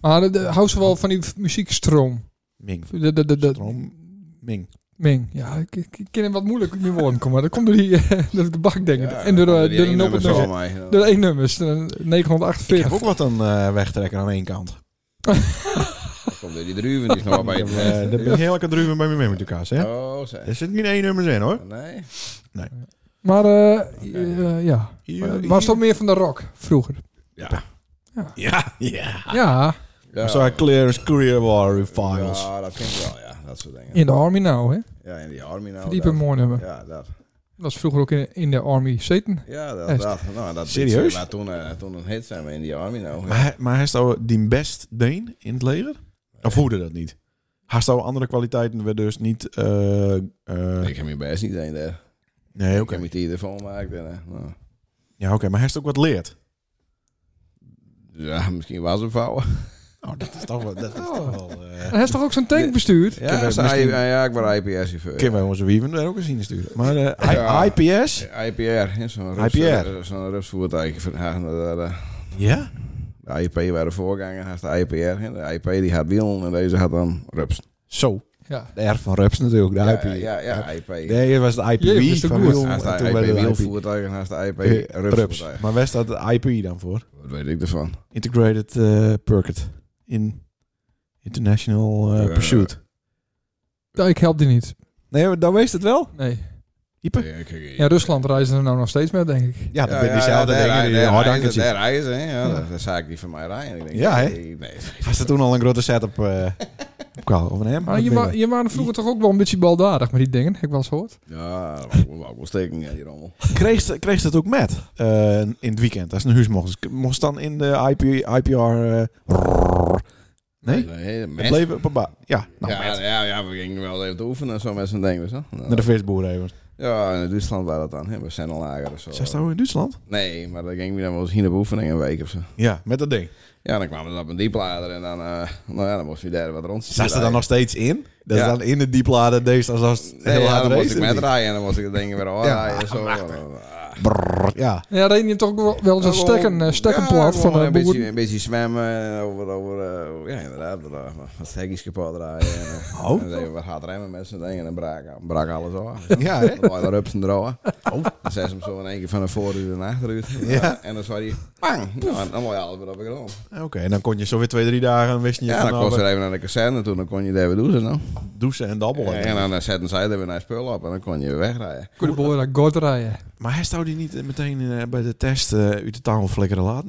Speaker 3: Maar de, de, hou ze wel van die muziekstroom.
Speaker 1: Ming.
Speaker 3: De, de, de, de-
Speaker 1: Stroom. Ming.
Speaker 3: Ming. Ja, ik, ik, ik ken hem wat moeilijk met mijn woorden komen. Maar dat komt door die... [laughs] eh, door de bak, denk
Speaker 7: niet.
Speaker 3: ik.
Speaker 7: Ja,
Speaker 3: en door,
Speaker 7: dan
Speaker 3: eh,
Speaker 7: die
Speaker 3: door
Speaker 7: ene
Speaker 3: de
Speaker 7: nummers
Speaker 3: nummers.
Speaker 7: van mij. Ja.
Speaker 3: Door één nummers. eh,
Speaker 1: Ik heb
Speaker 3: 948.
Speaker 1: ook wat aan eh, wegtrekken aan één kant.
Speaker 7: Dat komt door die druven, die is nog wel bij
Speaker 1: Eh
Speaker 7: het nest.
Speaker 1: daar ben ik heel lekker druiven bij mijn met elkaar, hè?
Speaker 7: Oh,
Speaker 1: Er
Speaker 7: zeg.
Speaker 1: zit niet één nummers in, hoor.
Speaker 7: Nee.
Speaker 3: Maar eh, eh, ja.
Speaker 1: Hier,
Speaker 3: Was
Speaker 1: hier.
Speaker 3: toch meer van de rock vroeger?
Speaker 7: Ja.
Speaker 1: Ja, ja.
Speaker 7: Ah.
Speaker 3: Ja.
Speaker 7: Ja.
Speaker 1: Zo ja. Clearance Career War Refiles.
Speaker 7: Ja, dat klinkt wel, ja. Dat soort dingen.
Speaker 3: In de Army nou, hè?
Speaker 7: Ja, in die army nou.
Speaker 3: Diepe
Speaker 7: dat.
Speaker 3: mooi nummer.
Speaker 7: Ja, dat.
Speaker 3: Dat is vroeger ook in, in de Army zitten.
Speaker 7: Ja, dat.
Speaker 3: Echt?
Speaker 7: dat. Nou, dat
Speaker 1: Serieus?
Speaker 7: Maar toen, eh, toen een hit zijn we in die army nou.
Speaker 1: Maar, hij- maar hij is nou die best Deen in het leger? Of hoorde dat niet? Hij zou andere kwaliteiten we dus niet... eh, eh,
Speaker 7: Ik heb je best niet een daar.
Speaker 1: nee,
Speaker 7: Ik
Speaker 1: oké.
Speaker 7: heb mijn telefoon gemaakt. En, eh, nou.
Speaker 1: Ja, oké, maar hij is ook wat leert.
Speaker 7: Dus, Ja, misschien was het vouwen.
Speaker 1: Oh, dat is toch wel... Dat is
Speaker 3: toch
Speaker 1: wel
Speaker 3: En hij is toch ook zijn tank bestuurd?
Speaker 1: heb
Speaker 7: Ja,
Speaker 1: het
Speaker 7: ze-
Speaker 1: misschien-
Speaker 7: ja, ja, ik ben IPS-chauffeur.
Speaker 1: Kunnen wij onze wieven daar ook eens in sturen? Maar eh, I-
Speaker 7: Ja.
Speaker 1: IPS?
Speaker 7: IPR, hè, zo'n Rups,
Speaker 1: IPR.
Speaker 7: eh, zo'n rupsvoertuig. van- ja, nou, eh, de- de-
Speaker 1: Ja?
Speaker 7: De IP waren de voorganger, had de IPR. hè. De IP die had wielen en deze had dan rups.
Speaker 1: Zo.
Speaker 3: Ja.
Speaker 1: De R van Rups natuurlijk, de IP.
Speaker 7: Ja, ja, ja, IP.
Speaker 1: Nee, het was de IP
Speaker 3: Jezus, is
Speaker 1: van
Speaker 3: goed.
Speaker 1: Wiel.
Speaker 7: Naast
Speaker 1: en
Speaker 7: de E
Speaker 1: toen werd
Speaker 7: IP
Speaker 1: het
Speaker 7: wielvoertuigen, naast de IP
Speaker 1: IP
Speaker 7: rups.
Speaker 1: Rups. Maar waar staat de IP dan voor?
Speaker 7: Wat weet ik ervan?
Speaker 1: Integrated eh Circuit in International eh,
Speaker 7: Eh,
Speaker 1: Pursuit.
Speaker 3: Ja, Ik help die niet.
Speaker 1: Nee, maar dan wees het wel.
Speaker 3: Nee.
Speaker 1: Ieper?
Speaker 7: Ja, kijk,
Speaker 3: Ja, Rusland reizen er nou nog steeds met, denk ik.
Speaker 1: Ja,
Speaker 7: Ja,
Speaker 1: dat ben
Speaker 7: ja,
Speaker 1: diezelfde
Speaker 7: ja,
Speaker 1: dingen
Speaker 7: daar
Speaker 1: die Oh,
Speaker 7: rijden-
Speaker 1: hard
Speaker 7: daar
Speaker 1: aan
Speaker 7: rijden-
Speaker 1: zien.
Speaker 7: Daar rijden ze, hè? Ja,
Speaker 3: Ja.
Speaker 7: dat- Dat zei ik die van mij rijden. En ik denk,
Speaker 1: Ja, hè?
Speaker 7: Nee, nee.
Speaker 1: Hij ze toen al een grote setup eh op Karl of een hem?
Speaker 3: Maar Ah, je, wa- je waren vroeger toch ook wel een beetje baldadig met die dingen, heb ik wel eens gehoord.
Speaker 7: Ja, dat wou ik- wou ik wel steken, ja, die rommel.
Speaker 1: Kreeg ze- kreeg ze dat ook met eh, in het weekend als ze naar huis mocht. Mocht ze dan in de IP, IPR... eh, rrrr. nee?
Speaker 7: nee
Speaker 1: Het
Speaker 7: met.
Speaker 1: bleef op een ba- Ja, nou,
Speaker 7: ja,
Speaker 1: met.
Speaker 7: ja, ja, we gingen wel even te oefenen en zo met z'n ding, weet je wel.
Speaker 1: Naar de visboer even.
Speaker 7: Ja, in Duitsland waren dat dan, hè? We zijn al lager of zo.
Speaker 1: Zijn ze nou in Duitsland?
Speaker 7: Nee, maar dan gingen we dan wel eens hier naar oefening een week of zo.
Speaker 1: Ja, met dat ding.
Speaker 7: Ja, dan kwamen we op een dieplader en dan, eh, nou ja, dan moesten we daar wat rond.
Speaker 1: Zat ze dan nog steeds in? Dat
Speaker 7: Ja.
Speaker 1: is dan in de dieplader deze als als het
Speaker 7: Nee,
Speaker 1: heel
Speaker 7: ja,
Speaker 1: hard
Speaker 7: dan moest ik
Speaker 1: race.
Speaker 7: met rijden en dan moest ik het ding weer aanrijden en zo.
Speaker 1: Brrr, Ja,
Speaker 3: Ja, reden je toch ook wel- wel zo'n
Speaker 7: Ja,
Speaker 3: stekken,
Speaker 7: gewoon-
Speaker 3: eh,
Speaker 7: ja,
Speaker 3: stekkenplaat
Speaker 7: gewoon
Speaker 3: van de
Speaker 7: een beetje,
Speaker 3: boer.
Speaker 7: een beetje zwemmen en over, over eh, ja inderdaad, er, eh, wat hekjes kapot draaien. En, eh,
Speaker 1: Oh.
Speaker 7: en dan even wat gaat remmen met z'n dingen en dan brak, brak alles af.
Speaker 1: Ja, hè?
Speaker 7: Dan waren er ups en draaien. Dan zei ze hem zo in één keer van de vooruit en achteruit.
Speaker 1: Ja.
Speaker 7: En dan zei hij, bang, nou, dan moet je alles weer op de grond.
Speaker 1: [laughs] oké. en dan kon je zo weer twee, drie dagen en wist je
Speaker 7: Ja,
Speaker 1: van
Speaker 7: dan
Speaker 1: nou,
Speaker 7: kon ze even naar de kazerne toe, dan kon je daar weer doen. Nou.
Speaker 1: douchen en dabbelen.
Speaker 7: En dan eh, zetten zij er weer naar spul op en dan kon je weer wegrijden.
Speaker 3: Goede boer, dat god rijden.
Speaker 1: Maar hij zou die niet eh, meteen eh, bij de test eh, uit de tafel flikkeren laten?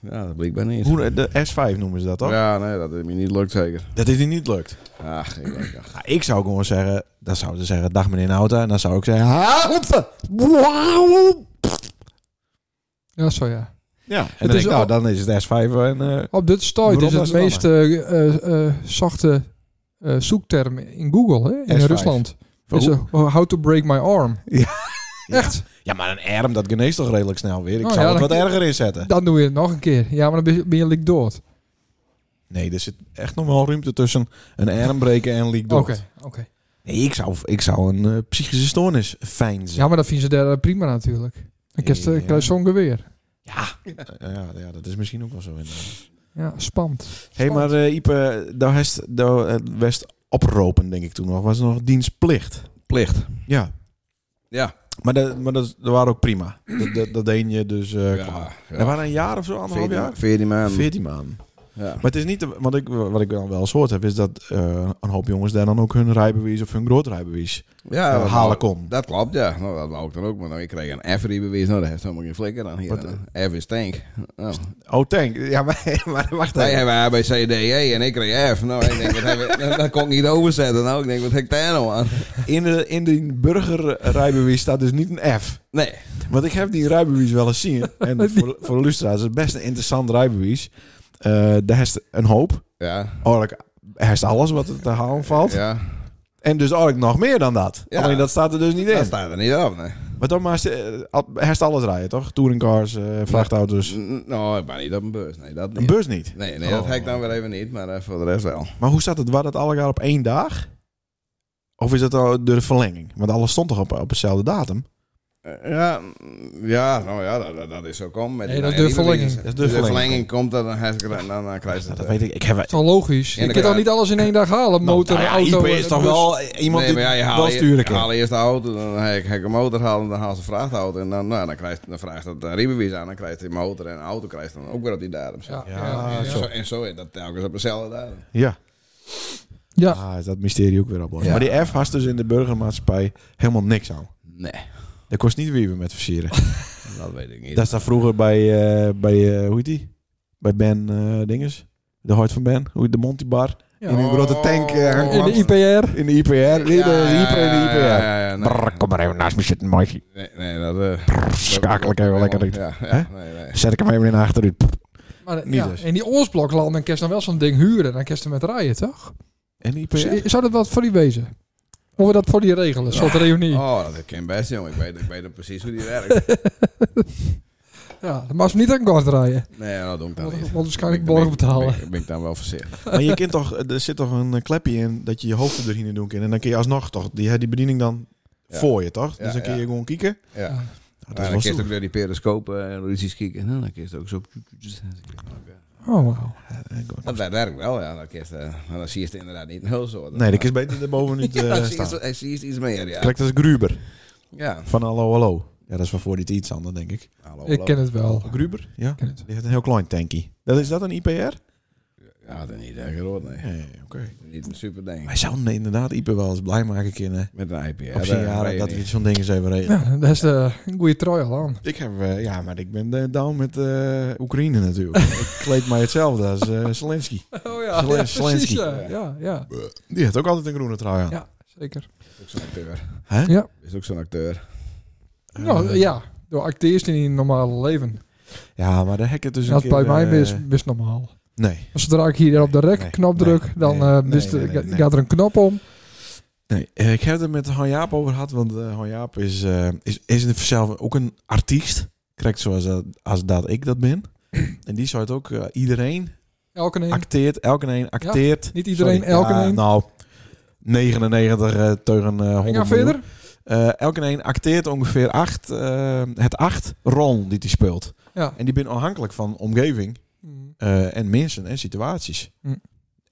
Speaker 7: Ja, dat blijkt bij
Speaker 1: [laughs]
Speaker 7: niet.
Speaker 1: Hoe, de S5 noemen ze dat toch?
Speaker 7: Ja, nee, dat heeft me niet lukt zeker.
Speaker 1: Dat dit niet lukt.
Speaker 7: Ach, ik denk, ach.
Speaker 1: Ja, ik zou gewoon zeggen, dan zouden ze zeggen, dag meneer Nauta. En dan zou ik zeggen, Nauta! Wauw!
Speaker 3: Ja, zo ja.
Speaker 1: Ja, en dan
Speaker 3: is
Speaker 1: denk ik, nou,
Speaker 3: ook-
Speaker 1: dan is het S5 en... eh,
Speaker 3: Op dit stuit
Speaker 1: Waarom
Speaker 3: is het
Speaker 1: was het
Speaker 3: meest eh, eh, eh, zachte eh, zoekterm in Google, hè, in
Speaker 1: S5.
Speaker 3: Rusland.
Speaker 1: Voor
Speaker 3: Is, eh, how to break my arm.
Speaker 1: Ja.
Speaker 3: Echt?
Speaker 1: ja, maar een arm, dat geneest toch redelijk snel weer? Ik
Speaker 3: Oh,
Speaker 1: zou
Speaker 3: ja,
Speaker 1: het
Speaker 3: dan-
Speaker 1: wat erger inzetten.
Speaker 3: Dan doe je het nog een keer. Ja, maar dan ben je, ben je lik dood.
Speaker 1: Nee, er zit echt nog wel ruimte tussen een arm breken en leak
Speaker 3: Oké,
Speaker 1: dood.
Speaker 3: oké.
Speaker 1: Nee, ik zou, ik zou een eh, psychische stoornis fijn zijn.
Speaker 3: Ja, maar dat vinden ze daar eh, prima natuurlijk. Dan krijg je-
Speaker 1: Ja.
Speaker 3: krijg je zo'n geweer.
Speaker 1: Eh, ja, ja, dat is misschien ook wel zo. inderdaad.
Speaker 3: Ja, spannend.
Speaker 1: Hé, hey, maar eh, Ipe, daar was daar eh, was opropen, denk ik toen nog. Was er nog dienstplicht?
Speaker 7: Plicht.
Speaker 1: Ja.
Speaker 7: Ja.
Speaker 1: Maar dat, maar dat, dat waren ook prima. Dat, dat, dat deed je dus eh klaar. Dat waren een jaar of zo, anderhalf
Speaker 7: 14,
Speaker 1: jaar?
Speaker 7: 14 maanden.
Speaker 1: 14 maanden.
Speaker 7: Ja.
Speaker 1: Maar het is niet, want ik, wat ik dan wel eens hoort heb, is dat eh, een hoop jongens daar dan ook hun rijbewijs of hun grootrijbewijs
Speaker 7: ja,
Speaker 1: eh,
Speaker 7: dat-
Speaker 1: halen kon.
Speaker 7: Dat klopt, ja. Nou, dat wou ik dan ook. Maar nou, ik kreeg een F-bewijs. Nou, dat heeft helemaal geen flikker aan hier.
Speaker 1: Wat,
Speaker 7: F is tank. Nou.
Speaker 1: Oh, tank. Ja, maar, [laughs] maar wacht
Speaker 7: Wij
Speaker 1: even.
Speaker 7: hebben A, B, C, D, E en ik kreeg F. Nou, ik denk, dat, heb ik- [laughs] dat kon ik niet overzetten. Nou, ik denk, wat heb ik daar nou aan?
Speaker 1: In de, in de burgerrijbewijs staat dus niet een F.
Speaker 7: Nee.
Speaker 1: Want ik heb die rijbewijs wel eens zien.
Speaker 7: [laughs]
Speaker 1: En voor, voor de lustra's is het best een interessant rijbewijs. Eh daar heeft een hoop.
Speaker 7: Ja.
Speaker 1: Eigenlijk heeft alles wat er te halen valt.
Speaker 7: Ja.
Speaker 1: En dus eigenlijk nog meer dan dat.
Speaker 7: Ja.
Speaker 1: Alleen dat staat er dus niet
Speaker 7: Dat
Speaker 1: in.
Speaker 7: staat er niet op, nee.
Speaker 1: Maar dan maar eh, heeft alles rijden, toch? Touringcars, eh, vrachtauto's.
Speaker 7: N- Nou, ik ben niet op een beurs. Nee, dat
Speaker 1: Een
Speaker 7: niet.
Speaker 1: bus niet.
Speaker 7: Nee, nee, dat
Speaker 1: Oh.
Speaker 7: heb ik dan weer even niet. Maar eh, voor de rest wel.
Speaker 1: Maar hoe staat het? Waar dat allemaal op één dag? Of is dat al door de verlenging? Want alles stond toch op, op dezelfde datum?
Speaker 7: Eh, Ja, mm, ja, nou ja, dat, dat- dat is zo kom. Met
Speaker 3: Nee,
Speaker 7: die
Speaker 3: dat is de
Speaker 7: nieuwe
Speaker 3: verlenging.
Speaker 7: releases.
Speaker 1: Dat is de
Speaker 7: Als de
Speaker 1: verlenging.
Speaker 7: verlenging komt, dan, dan, dan, dan, dan krijg je
Speaker 1: Nou,
Speaker 7: het,
Speaker 1: dat
Speaker 7: eh,
Speaker 1: weet ik. Ik heb
Speaker 3: Het is wel logisch. Je kunt
Speaker 7: Inderdaad.
Speaker 3: al niet alles in één dag halen. Motor,
Speaker 1: Nou, nou ja,
Speaker 3: auto,
Speaker 1: Ipe
Speaker 3: en
Speaker 1: is toch
Speaker 3: bus.
Speaker 1: wel eh, iemand
Speaker 7: nee,
Speaker 1: die
Speaker 7: maar ja, je haalt
Speaker 1: wel
Speaker 7: eerst-
Speaker 1: sturen
Speaker 7: je
Speaker 1: kan.
Speaker 7: haalt eerst de auto, dan ga ik, ga ik een motor halen, dan haal ze een vrachtauto. En dan, nou, dan, krijgt, dan vraagt dat een riebewijs aan, dan krijgt hij een motor en een auto krijgt dan ook weer op die datum.
Speaker 3: Ja,
Speaker 1: Ja,
Speaker 3: ja, ja.
Speaker 7: en,
Speaker 1: zo.
Speaker 7: zo. en zo is dat telkens op dezelfde datum.
Speaker 1: Ja.
Speaker 3: Ja.
Speaker 1: Ah, is dat mysterie ook weer op. los.
Speaker 7: Ja.
Speaker 1: Maar die F had dus in de burgermaatschappij helemaal niks aan.
Speaker 7: Nee,
Speaker 1: Dat kost niet wieven met versieren.
Speaker 7: dat weet ik niet.
Speaker 1: dat staat vroeger bij, eh, bij eh, hoe heet die? Bij Ben eh, Dinges. De hart van Ben. Hoe heet de Monty Bar.
Speaker 3: Ja.
Speaker 1: In een grote tank. eh,
Speaker 7: Oh. In
Speaker 3: In
Speaker 1: hangt.
Speaker 3: de IPR.
Speaker 1: in de IPR. In de
Speaker 7: Ja,
Speaker 1: hyper in de
Speaker 7: ja,
Speaker 1: IPR.
Speaker 7: ja, ja, ja, nee.
Speaker 1: Brr, kom maar even naast me zitten, meisje.
Speaker 7: Nee, nee, dat... eh,
Speaker 1: schakel ik even
Speaker 7: dat-
Speaker 1: lekker
Speaker 7: Ja,
Speaker 1: Hè?
Speaker 7: ja, nee, nee.
Speaker 1: Zet ik hem even in achteruit.
Speaker 3: Maar,
Speaker 1: Niet
Speaker 3: ja,
Speaker 1: dus.
Speaker 3: In die oorspronkland, dan kun je dan wel zo'n ding huren. Dan kun je er met rijden, toch?
Speaker 1: En die IPR?
Speaker 3: Z- Zou dat wat voor die wezen? Of we dat voor die regelen? Een soort reunie.
Speaker 7: Oh, dat ken ik best, jongen. Ik weet, ik weet precies hoe die werkt.
Speaker 3: Ja, dan mag ze niet aan kort rijden.
Speaker 7: Nee, dat doe ik dan
Speaker 3: Want-
Speaker 7: niet.
Speaker 3: want waarschijnlijk
Speaker 7: Ben ik-
Speaker 3: borg
Speaker 7: ben ik-
Speaker 3: betalen.
Speaker 7: Ben ik, ben ik dan wel voorzichtig.
Speaker 1: Maar je kind toch, er zit toch een eh, klepje in dat je je hoofd erin in doen kan. En dan kun je alsnog toch die, die bediening dan
Speaker 7: Ja.
Speaker 1: voor je, toch?
Speaker 7: Ja,
Speaker 1: dus dan kun je
Speaker 7: ja.
Speaker 1: gewoon kieken.
Speaker 7: Ja.
Speaker 3: Ja.
Speaker 1: Nou,
Speaker 7: Ja,
Speaker 1: dat
Speaker 7: dan
Speaker 1: was
Speaker 7: kun je
Speaker 1: toch
Speaker 7: ook weer die periscopen en ruzies kijken. Nou, dan kun je het ook zo...
Speaker 3: Oh, wauw.
Speaker 1: Eh,
Speaker 7: Dat werkt wel, ja. Dat kist, eh, maar dan zie je het inderdaad niet heel zo.
Speaker 1: Nee, dat is beter erboven niet
Speaker 7: [laughs] ja, dus
Speaker 1: eh
Speaker 7: dan zie je
Speaker 1: staan.
Speaker 7: het- hij zie je het iets meer, ja.
Speaker 1: Kijk, dat is Gruber
Speaker 7: Ja. Nou,
Speaker 1: van Hallo Hallo. Ja, dat is wel voor dit iets anders, denk ik.
Speaker 7: Hallo,
Speaker 3: Ik ken het wel.
Speaker 1: Gruber? Ja.
Speaker 3: ken het.
Speaker 1: Die heeft een heel klein tankie. Dat, is dat een IPR?
Speaker 7: Ja, dat is niet echt groot, nee.
Speaker 1: Nee, oké.
Speaker 7: Niet een super ding.
Speaker 1: Wij zouden inderdaad IPR wel eens blij maken kunnen.
Speaker 7: Met een IPR.
Speaker 1: op zijn
Speaker 7: eh,
Speaker 1: jaren
Speaker 7: weet je
Speaker 1: dat we
Speaker 7: niet.
Speaker 1: zo'n ding eens even regelen.
Speaker 3: Ja, dat is eh, een goede trui al aan.
Speaker 1: Ik heb, eh, ja, maar ik ben eh, down met eh, Oekraïne natuurlijk. [laughs] ik kleed mij hetzelfde als eh Zelensky.
Speaker 3: Oh ja,
Speaker 1: Zelensky. Zelensky.
Speaker 3: Ja, ja, ja.
Speaker 1: Eh, Die heeft ook altijd een groene trui aan.
Speaker 3: Ja, zeker.
Speaker 7: Is ook zo'n acteur.
Speaker 1: Hè?
Speaker 3: Ja.
Speaker 7: Is ook zo'n acteur.
Speaker 1: Eh,
Speaker 3: Nou, ja, door acteers in je normale leven.
Speaker 1: ja, maar de hekken dus een
Speaker 3: dat
Speaker 1: keer...
Speaker 3: bij mij
Speaker 1: eh,
Speaker 3: best, best normaal.
Speaker 1: Nee,
Speaker 3: Als zodra ik hier op de rek
Speaker 1: Nee,
Speaker 3: knop
Speaker 1: nee,
Speaker 3: druk,
Speaker 1: nee,
Speaker 3: dan
Speaker 1: nee,
Speaker 3: eh, wist
Speaker 1: nee,
Speaker 3: er-
Speaker 1: nee, nee.
Speaker 3: gaat er een knop om.
Speaker 1: nee. Eh, ik heb het er met Han Jaap over gehad, want eh Han Jaap is, eh, is, is in zichzelf ook een artiest. Krijgt zoals dat, als dat ik dat ben. en die zou het ook, eh, iedereen
Speaker 3: Elke een.
Speaker 1: acteert, elke een acteert.
Speaker 3: Niet iedereen,
Speaker 1: Sorry.
Speaker 3: elke
Speaker 1: Ja,
Speaker 3: een.
Speaker 1: Nou, 99 eh tegen eh 100
Speaker 3: Ik ga
Speaker 1: miljoen.
Speaker 3: verder.
Speaker 1: Eh, elke een acteert ongeveer acht, eh, het acht rol die hij speelt.
Speaker 3: Ja.
Speaker 1: En die ben afhankelijk van omgeving
Speaker 3: Mm.
Speaker 1: eh, en mensen en situaties.
Speaker 3: Hm.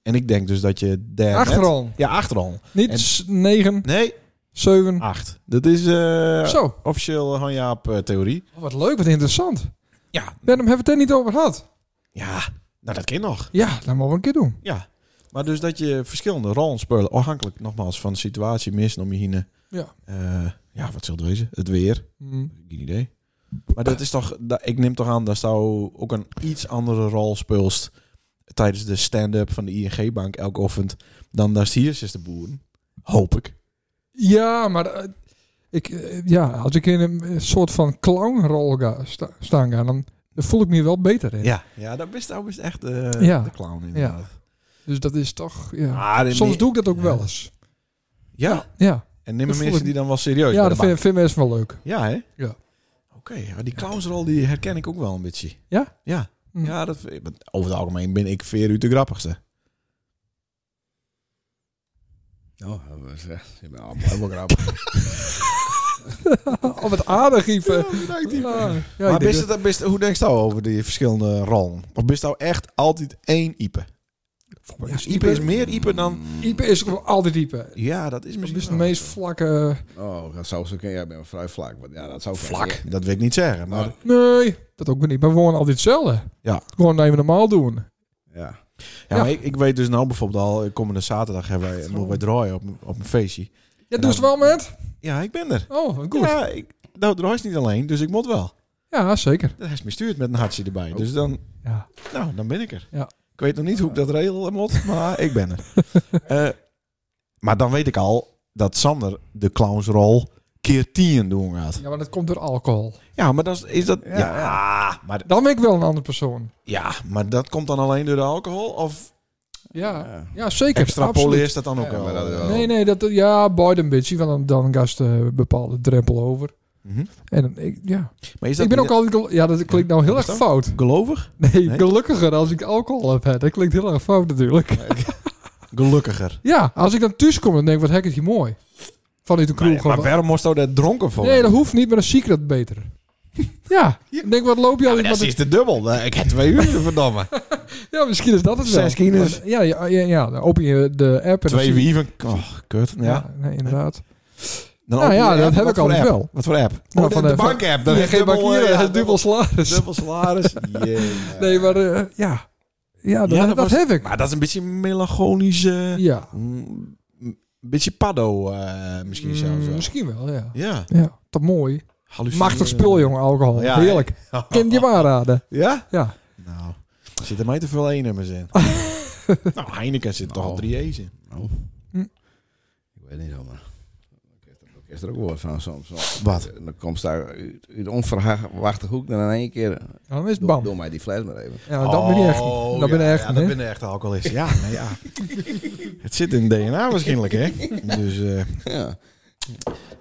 Speaker 1: En ik denk dus dat je daar net-
Speaker 3: Achterom.
Speaker 1: Ja, acht rol. En-
Speaker 3: Niet s- negen,
Speaker 1: Nee,
Speaker 3: zeven.
Speaker 1: acht. Dat is eh,
Speaker 3: Zo.
Speaker 1: officieel Hanjaap eh theorie.
Speaker 3: Oh, Wat leuk, wat interessant.
Speaker 1: Ja.
Speaker 3: Daarom hebben we het er niet over gehad.
Speaker 1: Ja, nou dat kan nog.
Speaker 3: Ja, dat mogen we een keer doen.
Speaker 1: Ja. Maar dus dat je verschillende rollen speelt, afhankelijk nogmaals van de situatie, mensen om je heen.
Speaker 3: Ja.
Speaker 1: Eh, ja, wat zal het wezen? Het weer.
Speaker 3: Mm.
Speaker 1: Geen idee. Maar dat is toch, da- ik neem toch aan dat zou ook een iets andere rol speelst tijdens de stand-up van de ING-bank elke ochtend dan dat hier is de boeren. Hoop ik.
Speaker 3: Ja, maar eh, ik, eh, ja, als ik in een eh, soort van clownrol ga sta- staan, ga, dan voel ik me hier wel beter in.
Speaker 1: Ja, ja dat is nou best echt eh,
Speaker 3: Ja.
Speaker 1: de clown inderdaad.
Speaker 3: Dus dat is toch. Ja.
Speaker 1: Maar in
Speaker 3: Soms
Speaker 1: die-
Speaker 3: doe ik dat ook
Speaker 1: Ja.
Speaker 3: wel eens.
Speaker 1: Ja,
Speaker 3: Ja,
Speaker 1: en neem
Speaker 3: Dat voel
Speaker 1: mensen
Speaker 3: ik-
Speaker 1: die dan wel serieus
Speaker 3: ja
Speaker 1: bij de
Speaker 3: dat vind,
Speaker 1: bank.
Speaker 3: vind mensen wel leuk.
Speaker 1: Ja, hè?
Speaker 3: Ja.
Speaker 1: Oké, ja, die clownsrol die herken ik ook wel een beetje.
Speaker 3: Ja?
Speaker 1: Ja.
Speaker 3: Hm.
Speaker 1: Ja, dat, over het algemeen ben ik veer u de grappigste.
Speaker 7: Oh, dat was, eh, je bent allemaal helemaal grappig.
Speaker 3: Oh, wat aardig, Ive.
Speaker 1: bedankt,
Speaker 3: Ja, ja,
Speaker 1: maar
Speaker 3: ik denk
Speaker 1: bist
Speaker 3: dat-
Speaker 1: het, bist, hoe denk je nou over die verschillende rollen? Of bist nou echt altijd één Ipe?
Speaker 3: mij is
Speaker 1: Ja, Ipe is
Speaker 3: Ipe-
Speaker 1: meer Ipe dan...
Speaker 3: Ipe is altijd Ipe.
Speaker 1: Ja, dat is
Speaker 3: Dat
Speaker 1: misschien
Speaker 3: is de
Speaker 1: wel
Speaker 3: meest
Speaker 1: zo.
Speaker 3: vlakke...
Speaker 7: Oh, dat zou zo kunnen. Ja, ben vrij vlak. want Ja, dat zou kunnen.
Speaker 1: vlak. Dat wil ik niet zeggen, maar...
Speaker 7: Maar,
Speaker 3: Nee, dat ook weer niet. Maar we wonen altijd hetzelfde.
Speaker 1: Ja.
Speaker 3: Gewoon even normaal doen.
Speaker 7: ja.
Speaker 1: ja, maar ik, ik weet dus nou bijvoorbeeld al... eh, Komende zaterdag hebben wij, moeten wij draaien op, een- op een feestje.
Speaker 3: Ja, doe het wel met?
Speaker 1: Ja, ik ben er.
Speaker 3: Oh, goed. Ja,
Speaker 1: Ja, ik, nou, draai is niet alleen, dus ik moet wel.
Speaker 3: zeker.
Speaker 1: Dat is me stuurt met een hartje erbij. Dus dan,
Speaker 3: Ja.
Speaker 1: nou, dan ben ik er.
Speaker 3: Oh. Ja.
Speaker 1: Ik weet nog niet hoe ik dat regel moet, maar ik ben
Speaker 3: [laughs]
Speaker 1: er. Eh, maar dan weet ik al dat Sander de clownsrol keer 10 doen gaat.
Speaker 3: ja, maar dat komt door alcohol.
Speaker 1: Ja, maar dat is, is dat. Ja,
Speaker 7: Ja,
Speaker 1: Maar,
Speaker 3: Dan ben ik wel een andere persoon.
Speaker 1: ja, maar dat komt dan alleen door de alcohol? Of
Speaker 3: Ja,
Speaker 7: Ja.
Speaker 3: ja zeker. absoluut.
Speaker 1: extrapoleert dat dan ook
Speaker 7: Ja,
Speaker 1: wel?
Speaker 7: maar dat is wel-
Speaker 3: Nee, nee, dat, ja, boyd een beetje. Want dan, dan gast eh, een bepaalde drempel over.
Speaker 1: Mhm.
Speaker 3: En dan- ik, ja.
Speaker 1: Maar is dat
Speaker 3: ik ben ook
Speaker 1: niet
Speaker 3: altijd... gel- Ja, dat klinkt nou heel
Speaker 1: Wat
Speaker 3: erg
Speaker 1: is dat?
Speaker 3: fout.
Speaker 1: gelovig?
Speaker 3: Nee,
Speaker 1: Nee?
Speaker 3: gelukkiger als ik alcohol heb. hè. Dat klinkt heel erg fout natuurlijk.
Speaker 1: Gelukkiger.
Speaker 3: Ja, als ik dan thuis kom, dan denk ik, wat hek is hier mooi. Vanuit de
Speaker 1: Maar,
Speaker 3: kroeg.
Speaker 1: ja, maar waarom moest je daar dronken voor?
Speaker 3: nee, dat hoeft niet, maar dan zie ik
Speaker 1: [laughs]
Speaker 3: dat beter. ja,
Speaker 1: Ja.
Speaker 3: ik denk, wat loop je al?
Speaker 1: Maar dat
Speaker 3: wat
Speaker 1: is de dubbel. Ik heb twee uur, verdomme.
Speaker 3: ja, misschien is dat het wel.
Speaker 1: Zes kilo's.
Speaker 3: Ja, ja, ja, ja, dan open je de app. En dan
Speaker 1: Twee
Speaker 3: zie je-
Speaker 1: wieven. Oh, kut. Ja.
Speaker 3: Ja, nee, inderdaad.
Speaker 1: Dan
Speaker 3: Nou
Speaker 1: open
Speaker 3: ja,
Speaker 1: je
Speaker 3: dat
Speaker 1: app.
Speaker 3: heb
Speaker 1: Wat
Speaker 3: ik
Speaker 1: voor
Speaker 3: al
Speaker 1: app?
Speaker 3: wel.
Speaker 1: Wat voor app?
Speaker 3: Nou,
Speaker 1: Oh, de,
Speaker 3: van
Speaker 1: de
Speaker 3: de-
Speaker 1: bankapp. Dan
Speaker 3: Ja,
Speaker 1: is
Speaker 3: geen
Speaker 1: dubbel,
Speaker 3: bankieren,
Speaker 1: eh, ja,
Speaker 3: [laughs] dubbel salaris.
Speaker 1: Dubbel salaris.
Speaker 3: [laughs]
Speaker 1: Jee.
Speaker 3: Nee, maar eh, ja. Ja, dat,
Speaker 1: Ja, dat
Speaker 3: dat
Speaker 1: was-
Speaker 3: heb ik.
Speaker 1: Maar dat is een beetje melancholisch. eh,
Speaker 3: ja.
Speaker 1: mm, Een beetje paddo eh, misschien zelfs
Speaker 3: Mm,
Speaker 1: wel.
Speaker 3: Misschien wel, ja.
Speaker 1: Ja.
Speaker 3: Ja, dat mooi.
Speaker 1: Hallucineren.
Speaker 3: Machtig
Speaker 1: [laughs]
Speaker 3: spul, jongen, alcohol.
Speaker 1: Ja,
Speaker 3: Heerlijk. Kind je maar aanraden.
Speaker 1: Nou, Ja?
Speaker 3: Ja.
Speaker 1: Nou, er zitten mij te veel E-nummers
Speaker 3: [laughs]
Speaker 1: in. nou, Heineken zit toch al
Speaker 7: Nou.
Speaker 1: drie E's in.
Speaker 7: Nou.
Speaker 3: Hm.
Speaker 7: Ik weet niet hoor, maar... Ik heb er- Ik heb er ook woord van soms. soms.
Speaker 1: Wat?
Speaker 7: En Dan komt daar uit uit de onverwachte hoek dan in één keer...
Speaker 3: Dan is het
Speaker 7: Doe,
Speaker 3: bam.
Speaker 7: doe mij die fles maar even. [laughs]
Speaker 3: Ja, Nou, dat ben je echt.
Speaker 1: Oh,
Speaker 3: niet. Dat ben je
Speaker 1: ja,
Speaker 3: echt.
Speaker 1: ja,
Speaker 3: niet,
Speaker 1: dat
Speaker 3: hè?
Speaker 1: ben je echt alcoholist. Ja, nee, ja. Het zit in DNA waarschijnlijk,
Speaker 3: [laughs]
Speaker 1: hè? Dus, eh,
Speaker 7: Ja.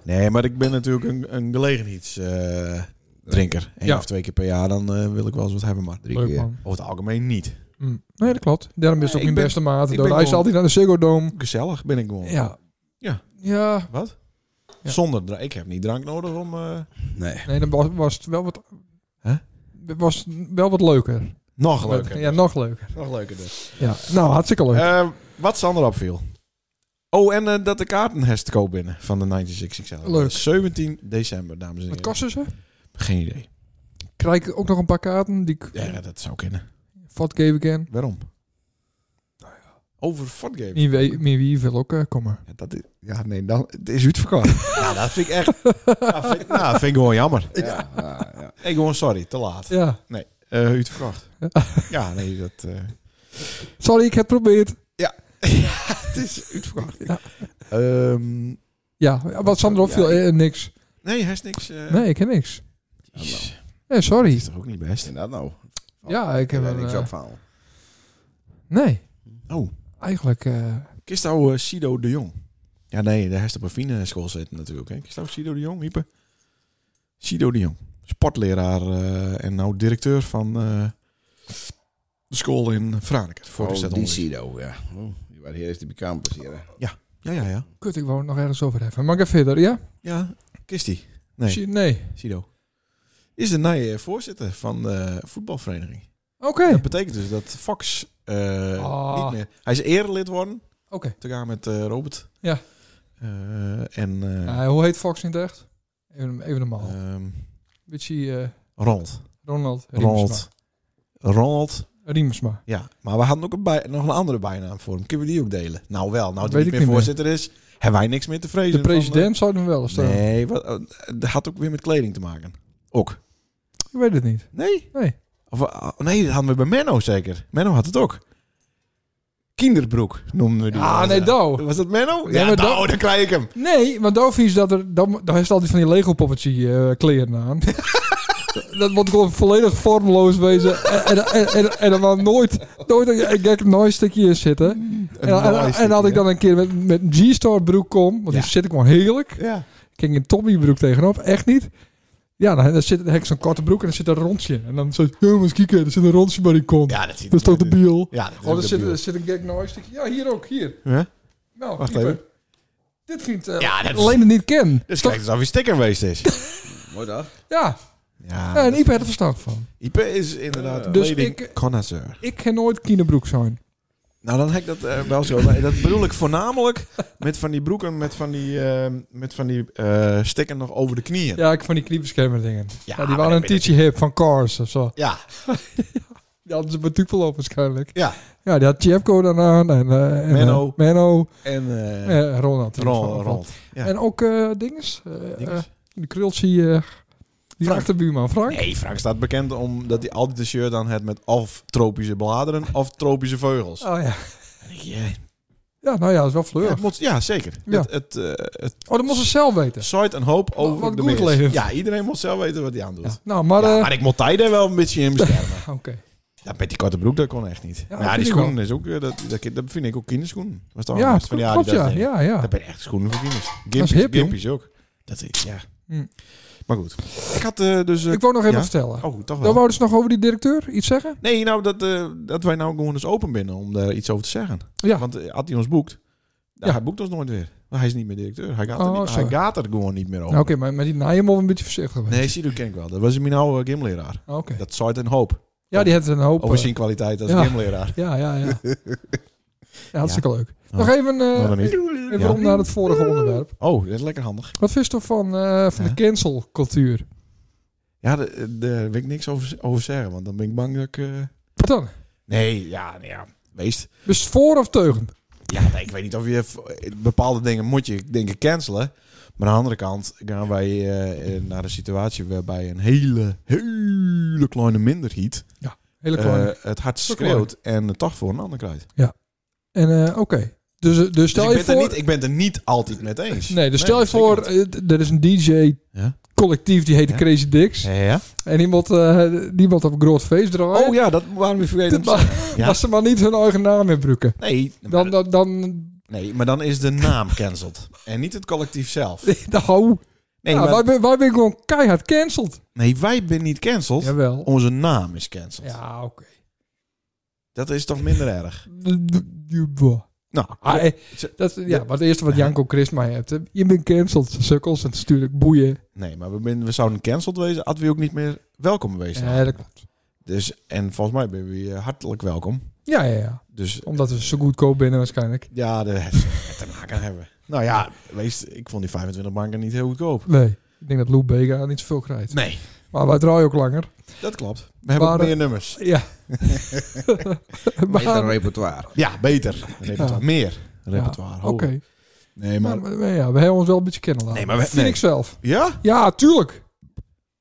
Speaker 1: nee, maar ik ben natuurlijk een, een gelegenheidsdrinker. drinker. Eén
Speaker 3: Eh, Ja.
Speaker 1: of twee keer per jaar, dan eh, wil ik wel eens wat hebben, maar drie
Speaker 3: Leuk,
Speaker 1: keer.
Speaker 3: man.
Speaker 1: Over het algemeen niet.
Speaker 3: Mm. Nee, dat klopt. Daarom is het ook
Speaker 1: Ik
Speaker 3: mijn
Speaker 1: ben-
Speaker 3: beste maat.
Speaker 1: ik
Speaker 3: Hij
Speaker 1: ben
Speaker 3: reist
Speaker 1: gewoon-
Speaker 3: altijd naar de Ziggo Dome.
Speaker 1: Gezellig ben ik gewoon.
Speaker 3: Ja.
Speaker 1: Ja.
Speaker 3: Ja.
Speaker 1: Wat?
Speaker 3: Ja.
Speaker 1: Zonder drank. Ik heb niet drank nodig om... eh,
Speaker 7: Nee.
Speaker 3: Nee, dan was, was het wel wat...
Speaker 1: Hè?
Speaker 3: was het wel wat leuker.
Speaker 1: Nog leuker.
Speaker 3: Ja, nog leuker.
Speaker 1: Nog leuker dus.
Speaker 3: Ja. Nou, hartstikke leuk.
Speaker 1: Eh, wat Sander opviel. Oh, en eh, dat de kaarten herst koop binnen van de 96XL.
Speaker 3: Leuk.
Speaker 1: 17 december, dames en
Speaker 3: Wat
Speaker 1: heren.
Speaker 3: kosten ze?
Speaker 1: Geen idee.
Speaker 3: Krijg ik ook nog een paar kaarten die ik
Speaker 1: Ja, dat zou kunnen.
Speaker 3: vat geven kan?
Speaker 1: Waarom? Nou Over Fortgame.
Speaker 3: Meer wie, meer wie wil ook eh, komen.
Speaker 1: Ja, dat is, ja, nee, dan het is uitverkocht. [laughs] ja, dat vind ik echt. Ja, vind, nou, vind ik gewoon jammer.
Speaker 7: Ja, ja, ja.
Speaker 1: Ik gewoon sorry, te laat.
Speaker 3: Ja.
Speaker 1: Eh uitverkocht. ja, nee, dat. eh,
Speaker 3: Sorry, ik heb het geprobeerd.
Speaker 1: het is uitverkocht.
Speaker 3: Ja.
Speaker 1: Ehm,
Speaker 3: Ja, wat Sander opviel, eh, niks.
Speaker 1: nee, hij is niks. eh,
Speaker 3: Nee, ik heb niks.
Speaker 1: Jezus, dat
Speaker 3: Nee,
Speaker 1: is
Speaker 3: sorry.
Speaker 1: toch ook niet
Speaker 7: Is
Speaker 1: best.
Speaker 7: dat nou?
Speaker 3: Ja, ik heb
Speaker 7: Daar
Speaker 3: een,
Speaker 7: niks
Speaker 3: eh,
Speaker 7: op van.
Speaker 3: Nee.
Speaker 1: Oh.
Speaker 3: Eigenlijk, eh,
Speaker 1: Kist nou eh, Sido de Jong? Ja, nee, daar heeft op een fine school zitten natuurlijk. Hè. Kist nou Sido de Jong, Hype? Sido de Jong. Sportleraar eh, en nou directeur van eh, de school in Franeker. Voor de
Speaker 7: Oh, die
Speaker 1: ZOL.
Speaker 7: Sido, ja. Oh, Die waren hier is die bekend passeren.
Speaker 1: Ja, ja, ja.
Speaker 3: kut, ik wou het nog ergens over hebben. Maar ik ga verder, ja?
Speaker 1: Ja, Kistie. Nee.
Speaker 3: Zie- nee.
Speaker 1: Sido. Is de nieuwe eh, voorzitter van de voetbalvereniging.
Speaker 3: Oké.
Speaker 1: Dat betekent dus dat Fox eh,
Speaker 3: Ah.
Speaker 1: niet meer... Hij is erelid worden,
Speaker 3: Oké.
Speaker 1: te gaan met eh, Robert.
Speaker 3: Ja.
Speaker 1: Eh, en eh,
Speaker 3: Eh, hoe heet Fox in het echt? Even, even normaal.
Speaker 1: ehm,
Speaker 3: Beetje eh,
Speaker 1: Ronald.
Speaker 3: Ronald Riemsma.
Speaker 1: Ronald. Ronald.
Speaker 3: Riemsma.
Speaker 1: Ja, maar we hadden ook een bij, nog een andere bijnaam voor hem. Kunnen we die ook delen? Nou wel, nou
Speaker 3: Dat
Speaker 1: die
Speaker 3: weet
Speaker 1: niet
Speaker 3: ik
Speaker 1: meer
Speaker 3: niet meer.
Speaker 1: voorzitter is, hebben wij niks meer te vrezen.
Speaker 3: De
Speaker 1: van, eh,
Speaker 3: president zou hem wel eens staan.
Speaker 1: nee, wat, eh, dat had ook weer met kleding te maken. Ook.
Speaker 3: Ik weet het niet.
Speaker 1: Nee?
Speaker 3: Nee.
Speaker 1: Of, eh, nee, dat hadden we bij Menno zeker. Menno had het ook. Kinderbroek noemden we die.
Speaker 3: Ah, nee, Douw.
Speaker 1: Was dat Menno?
Speaker 3: Ja,
Speaker 1: Ja,
Speaker 3: maar
Speaker 1: nou,
Speaker 3: dat-
Speaker 1: dan krijg ik hem.
Speaker 3: Nee, want Dovi is dat er. Dan, dan heeft altijd van die Lego poppetje eh, kleren aan. [laughs] dat wordt gewoon volledig vormloos wezen. En, en, en, en, en dan wou nooit, nooit een een gek nooit stukje in zitten. En, en, en,
Speaker 1: nice
Speaker 3: had
Speaker 1: stukje,
Speaker 3: ik dan een keer met, met een G-Star broek kom, want
Speaker 1: Ja.
Speaker 3: die zit ik gewoon heerlijk.
Speaker 1: Ja.
Speaker 3: Ik ging een Tommy broek tegenop, echt niet. Ja, dan, dan zit dan heb ik zo'n korte broek en dan zit een rondje. En dan zo, jongens, kijken, er zit een rondje bij die kont.
Speaker 1: Ja, dat ziet
Speaker 3: dat is toch
Speaker 1: er-
Speaker 3: de biel?
Speaker 1: Ja, dat is
Speaker 3: Oh,
Speaker 1: ook
Speaker 3: er
Speaker 1: de
Speaker 3: zit,
Speaker 1: biel.
Speaker 3: er zit een gek noise stukje. Ja, hier ook, hier.
Speaker 1: Huh?
Speaker 3: Nou,
Speaker 1: Wacht
Speaker 3: keeper.
Speaker 1: even.
Speaker 3: Dit vindt eh,
Speaker 1: Ja, dat is-
Speaker 3: alleen het niet ken.
Speaker 1: Dus
Speaker 3: Toch-
Speaker 1: kijk eens af wie sticker geweest
Speaker 3: [laughs]
Speaker 1: is.
Speaker 7: Mooi dag.
Speaker 3: Ja, ja,
Speaker 1: ja,
Speaker 3: en Ipe had er verstand van.
Speaker 1: Ipe is inderdaad een
Speaker 3: Dus
Speaker 1: kleding
Speaker 3: ik-
Speaker 1: connoisseur.
Speaker 3: Ik kan nooit kinderbroek zijn.
Speaker 1: Nou, dan heb ik dat eh, wel zo. Maar dat bedoel ik voornamelijk met van die broeken, met van die, eh, met van die eh stikken nog over de knieën.
Speaker 3: Ja, ik van die kniebeschermer dingen.
Speaker 1: maar
Speaker 3: Ja, die
Speaker 1: dat
Speaker 3: waren een
Speaker 1: weet ik
Speaker 3: teachy hip van Cars of zo.
Speaker 1: Ja,
Speaker 3: Die hadden ze bij Tupelo waarschijnlijk.
Speaker 1: Ja.
Speaker 3: Ja, die had Tjepko dan aan. En, eh, en,
Speaker 1: Menno.
Speaker 3: eh, Menno.
Speaker 1: en eh,
Speaker 3: eh, Ronald.
Speaker 1: Ron- Ronald. Ja.
Speaker 3: En ook eh dinges. eh,
Speaker 1: Dinges.
Speaker 3: eh, de krultje. eh die
Speaker 1: Frank.
Speaker 3: achterbuurman Frank.
Speaker 1: Nee, Frank staat bekend omdat hij altijd een shirt aan heeft met of tropische bladeren of tropische vogels.
Speaker 3: Oh ja.
Speaker 1: Ja,
Speaker 3: Ja, nou ja, dat is wel
Speaker 1: ja,
Speaker 3: fleur.
Speaker 1: het moet- ja, zeker.
Speaker 3: Ja.
Speaker 1: Het, het, eh, het
Speaker 3: Oh, dat moest ze zelf weten.
Speaker 1: zaait een hoop over
Speaker 3: wat
Speaker 1: de
Speaker 3: goed
Speaker 1: mens.
Speaker 3: leven.
Speaker 1: Ja, iedereen moet zelf weten wat hij aan doet.
Speaker 3: Ja.
Speaker 1: Ja.
Speaker 3: Nou, maar... eh,
Speaker 1: maar ik moet hij daar wel een beetje in beschermen. [laughs]
Speaker 3: Oké.
Speaker 1: ja, met die korte broek, dat kon echt niet. Ja,
Speaker 3: dat
Speaker 1: die
Speaker 3: vind ik
Speaker 1: schoenen is ook... eh, Dat, dat, dat vind ik ook kinderschoenen. Was het
Speaker 3: Ja,
Speaker 1: allemaal van
Speaker 3: klopt,
Speaker 1: die
Speaker 3: klopt,
Speaker 1: Adidas
Speaker 3: ja.
Speaker 1: dingen.
Speaker 3: Ja, ja.
Speaker 1: Dat ben echt schoenen voor kinders.
Speaker 3: is
Speaker 1: Gimpies,
Speaker 3: hip, jong.
Speaker 1: gimpies ook. Dat is, ja.
Speaker 3: Hm.
Speaker 1: Maar goed. Ik had eh, dus... eh,
Speaker 3: Ik wou nog even
Speaker 1: ja.
Speaker 3: vertellen.
Speaker 1: oh, toch
Speaker 3: Dan
Speaker 1: wel.
Speaker 3: wouden ze nog over die directeur iets zeggen?
Speaker 1: Nee, nou, dat, eh, dat wij nou gewoon eens open binnen om daar iets over te zeggen.
Speaker 3: Ja.
Speaker 1: Want eh, had hij ons boekt, nou,
Speaker 3: Ja.
Speaker 1: hij boekt ons nooit weer. Maar hij is niet meer directeur. Hij gaat,
Speaker 3: Oh,
Speaker 1: er, niet, hij
Speaker 3: sorry.
Speaker 1: gaat er gewoon niet meer over.
Speaker 3: Nou, Oké, maar met die naaien mogen we een beetje voorzichtig zijn.
Speaker 1: Nee, Sido ken ik wel. Dat was mijn oude gymleraar.
Speaker 3: Oké.
Speaker 1: Dat Oh, zaait een hoop.
Speaker 3: Ja, die heeft een hoop...
Speaker 1: Over
Speaker 3: eh,
Speaker 1: zijn kwaliteit als
Speaker 3: Ja.
Speaker 1: gymleraar.
Speaker 3: Ja,
Speaker 1: [laughs]
Speaker 3: ja, ja. ja hartstikke leuk.
Speaker 1: Ja.
Speaker 3: Nog even, eh,
Speaker 1: Nou, dan niet.
Speaker 3: even
Speaker 1: Ja.
Speaker 3: om naar het vorige onderwerp.
Speaker 1: Oh, dat is lekker handig.
Speaker 3: Wat vind je toch van, eh, van
Speaker 1: Ja.
Speaker 3: de cancelcultuur?
Speaker 1: Ja, de- de- daar wil ik niks over, over zeggen, want dan ben ik bang dat ik... eh,
Speaker 3: Wat dan?
Speaker 1: Nee, ja, nee, ja. Wees.
Speaker 3: Dus voor of teugen?
Speaker 1: Ja, nee, ik weet niet of je... v- Bepaalde dingen moet je, denk ik, cancelen. Maar aan de andere kant gaan wij eh, eh, naar een situatie waarbij een hele, hele kleine minderheid
Speaker 3: Hele kleine.
Speaker 1: eh, het hart
Speaker 3: Heel klein.
Speaker 1: schreeuwt en het toch voor een ander krijgt.
Speaker 3: en eh, oké. Dus, eh, dus
Speaker 1: Dus
Speaker 3: stel
Speaker 1: ik, ben
Speaker 3: je
Speaker 1: het er
Speaker 3: voor...
Speaker 1: niet, ik ben het er niet altijd mee eens.
Speaker 3: nee, dus stel je
Speaker 1: zeker
Speaker 3: voor,
Speaker 1: niet.
Speaker 3: eh, d- er is een DJ...
Speaker 1: Ja.
Speaker 3: Collectief, die heet de
Speaker 1: Ja.
Speaker 3: Crazy Dicks.
Speaker 1: Ja, ja.
Speaker 3: En iemand, eh, iemand op een groot feest draaien.
Speaker 1: Oh ja, dat waren we
Speaker 3: [laughs]
Speaker 1: vergeten. om te zeggen.
Speaker 3: Maar,
Speaker 1: Ja.
Speaker 3: Als ze maar niet hun eigen naam inbruiken.
Speaker 1: Nee,
Speaker 3: Dan,
Speaker 1: maar,
Speaker 3: dan, dan, [laughs]
Speaker 1: nee, maar dan is de naam cancelled. En niet het collectief zelf.
Speaker 3: nou,
Speaker 1: Nee,
Speaker 3: ja,
Speaker 1: maar-
Speaker 3: wij, ben- wij ben gewoon keihard cancelled.
Speaker 1: nee wij zijn niet cancelled.
Speaker 3: Jawel.
Speaker 1: Onze naam is cancelled.
Speaker 3: Ja, oké.
Speaker 1: Dat is toch minder erg? Nou,
Speaker 3: Ah, eh, dat, ja, maar het eerste wat Janko Christ mij hebt. hè. Je bent cancelled, sukkels. En het is natuurlijk boeien.
Speaker 1: nee, maar we, ben- we zouden cancelled wezen. Hadden we ook niet meer welkom geweest.
Speaker 3: Ja, dat klopt.
Speaker 1: Dus, en volgens mij ben je eh, hartelijk welkom.
Speaker 3: Ja, ja, ja.
Speaker 1: Dus
Speaker 3: Omdat ze zo goedkoop binnen waarschijnlijk.
Speaker 1: ja, daar heeft [laughs] het te maken hebben. Nou ja, wees, ik vond die 25 banken niet heel goedkoop.
Speaker 3: Nee. Ik denk dat Lou Bega niet zoveel krijgt.
Speaker 1: Nee.
Speaker 3: Maar wij draaien ook langer.
Speaker 1: Dat klopt. We hebben ook
Speaker 3: Maar, eh,
Speaker 1: meer nummers. [laughs]
Speaker 3: Ja.
Speaker 7: Beter
Speaker 3: [laughs] Maar-
Speaker 7: repertoire.
Speaker 1: Ja, beter. Repertoire.
Speaker 3: Ja.
Speaker 1: Meer. Repertoire.
Speaker 3: Ja,
Speaker 1: hoger.
Speaker 3: Oké.
Speaker 1: Nee,
Speaker 3: Maar,
Speaker 1: maar...
Speaker 3: maar ja, we hebben ons wel een beetje kennen laten.
Speaker 1: Nee, maar we-
Speaker 3: Vind
Speaker 1: nee.
Speaker 3: ik zelf.
Speaker 1: Ja?
Speaker 3: Ja, tuurlijk.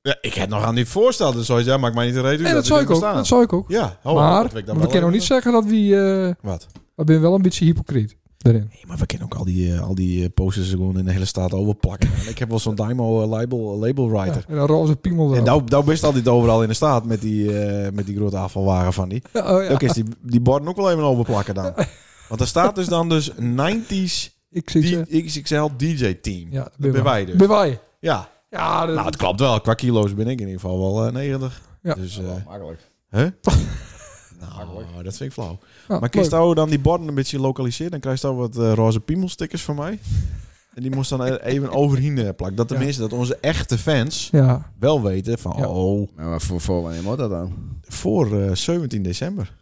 Speaker 1: ja? Ik heb nog aan dit voorstel. Dus zoiets, ja, maakt mij niet de reden.
Speaker 3: En dat zou ik ook. Dat zou ik ook.
Speaker 1: Ja. oh, dat
Speaker 3: maar
Speaker 1: wil
Speaker 3: we
Speaker 1: ik dan
Speaker 3: kunnen
Speaker 1: wel
Speaker 3: ook niet
Speaker 1: even-
Speaker 3: zeggen dat we... eh
Speaker 1: Wat?
Speaker 3: we zijn wel een beetje hypocriet daarin.
Speaker 1: Nee, maar we kennen ook al die, eh, al die eh, posters gewoon in de hele staat overplakken. En ik heb wel zo'n Dymo eh, label, label writer.
Speaker 3: Ja, en een roze piemel
Speaker 1: En
Speaker 3: erop.
Speaker 1: nou, nou best altijd overal in de staat met die, eh, met die grote afvalwagen van die.
Speaker 3: Ja, oh ja.
Speaker 1: Dan kun je die, die borden ook wel even overplakken dan. Want daar staat dus dan dus
Speaker 3: [laughs]
Speaker 1: 90s
Speaker 3: Ik zie ze.
Speaker 1: D- XXL DJ team.
Speaker 3: Ja,
Speaker 1: dat ben wij dus.
Speaker 3: Ben wij.
Speaker 1: Ja.
Speaker 3: Ja, dat,
Speaker 1: Nou, het klopt wel. Qua kilo's ben ik in ieder geval wel eh, 90.
Speaker 3: Ja.
Speaker 1: Dus, eh,
Speaker 7: Makkelijk.
Speaker 3: [laughs]
Speaker 1: hè? nou, dat vind ik flauw.
Speaker 3: ja,
Speaker 1: Maar kun je
Speaker 3: leuk.
Speaker 1: nou dan die borden een beetje lokaliseren? Dan krijg je nou wat eh, roze piemelstickers van mij. En die moest dan e- even overheen eh, plakken. Dat tenminste, dat onze echte fans
Speaker 3: Ja,
Speaker 1: wel weten van...
Speaker 3: Ja.
Speaker 1: Oh,
Speaker 7: Nou, maar voor, voor wanneer moet dat dan?
Speaker 1: voor eh, 17 december.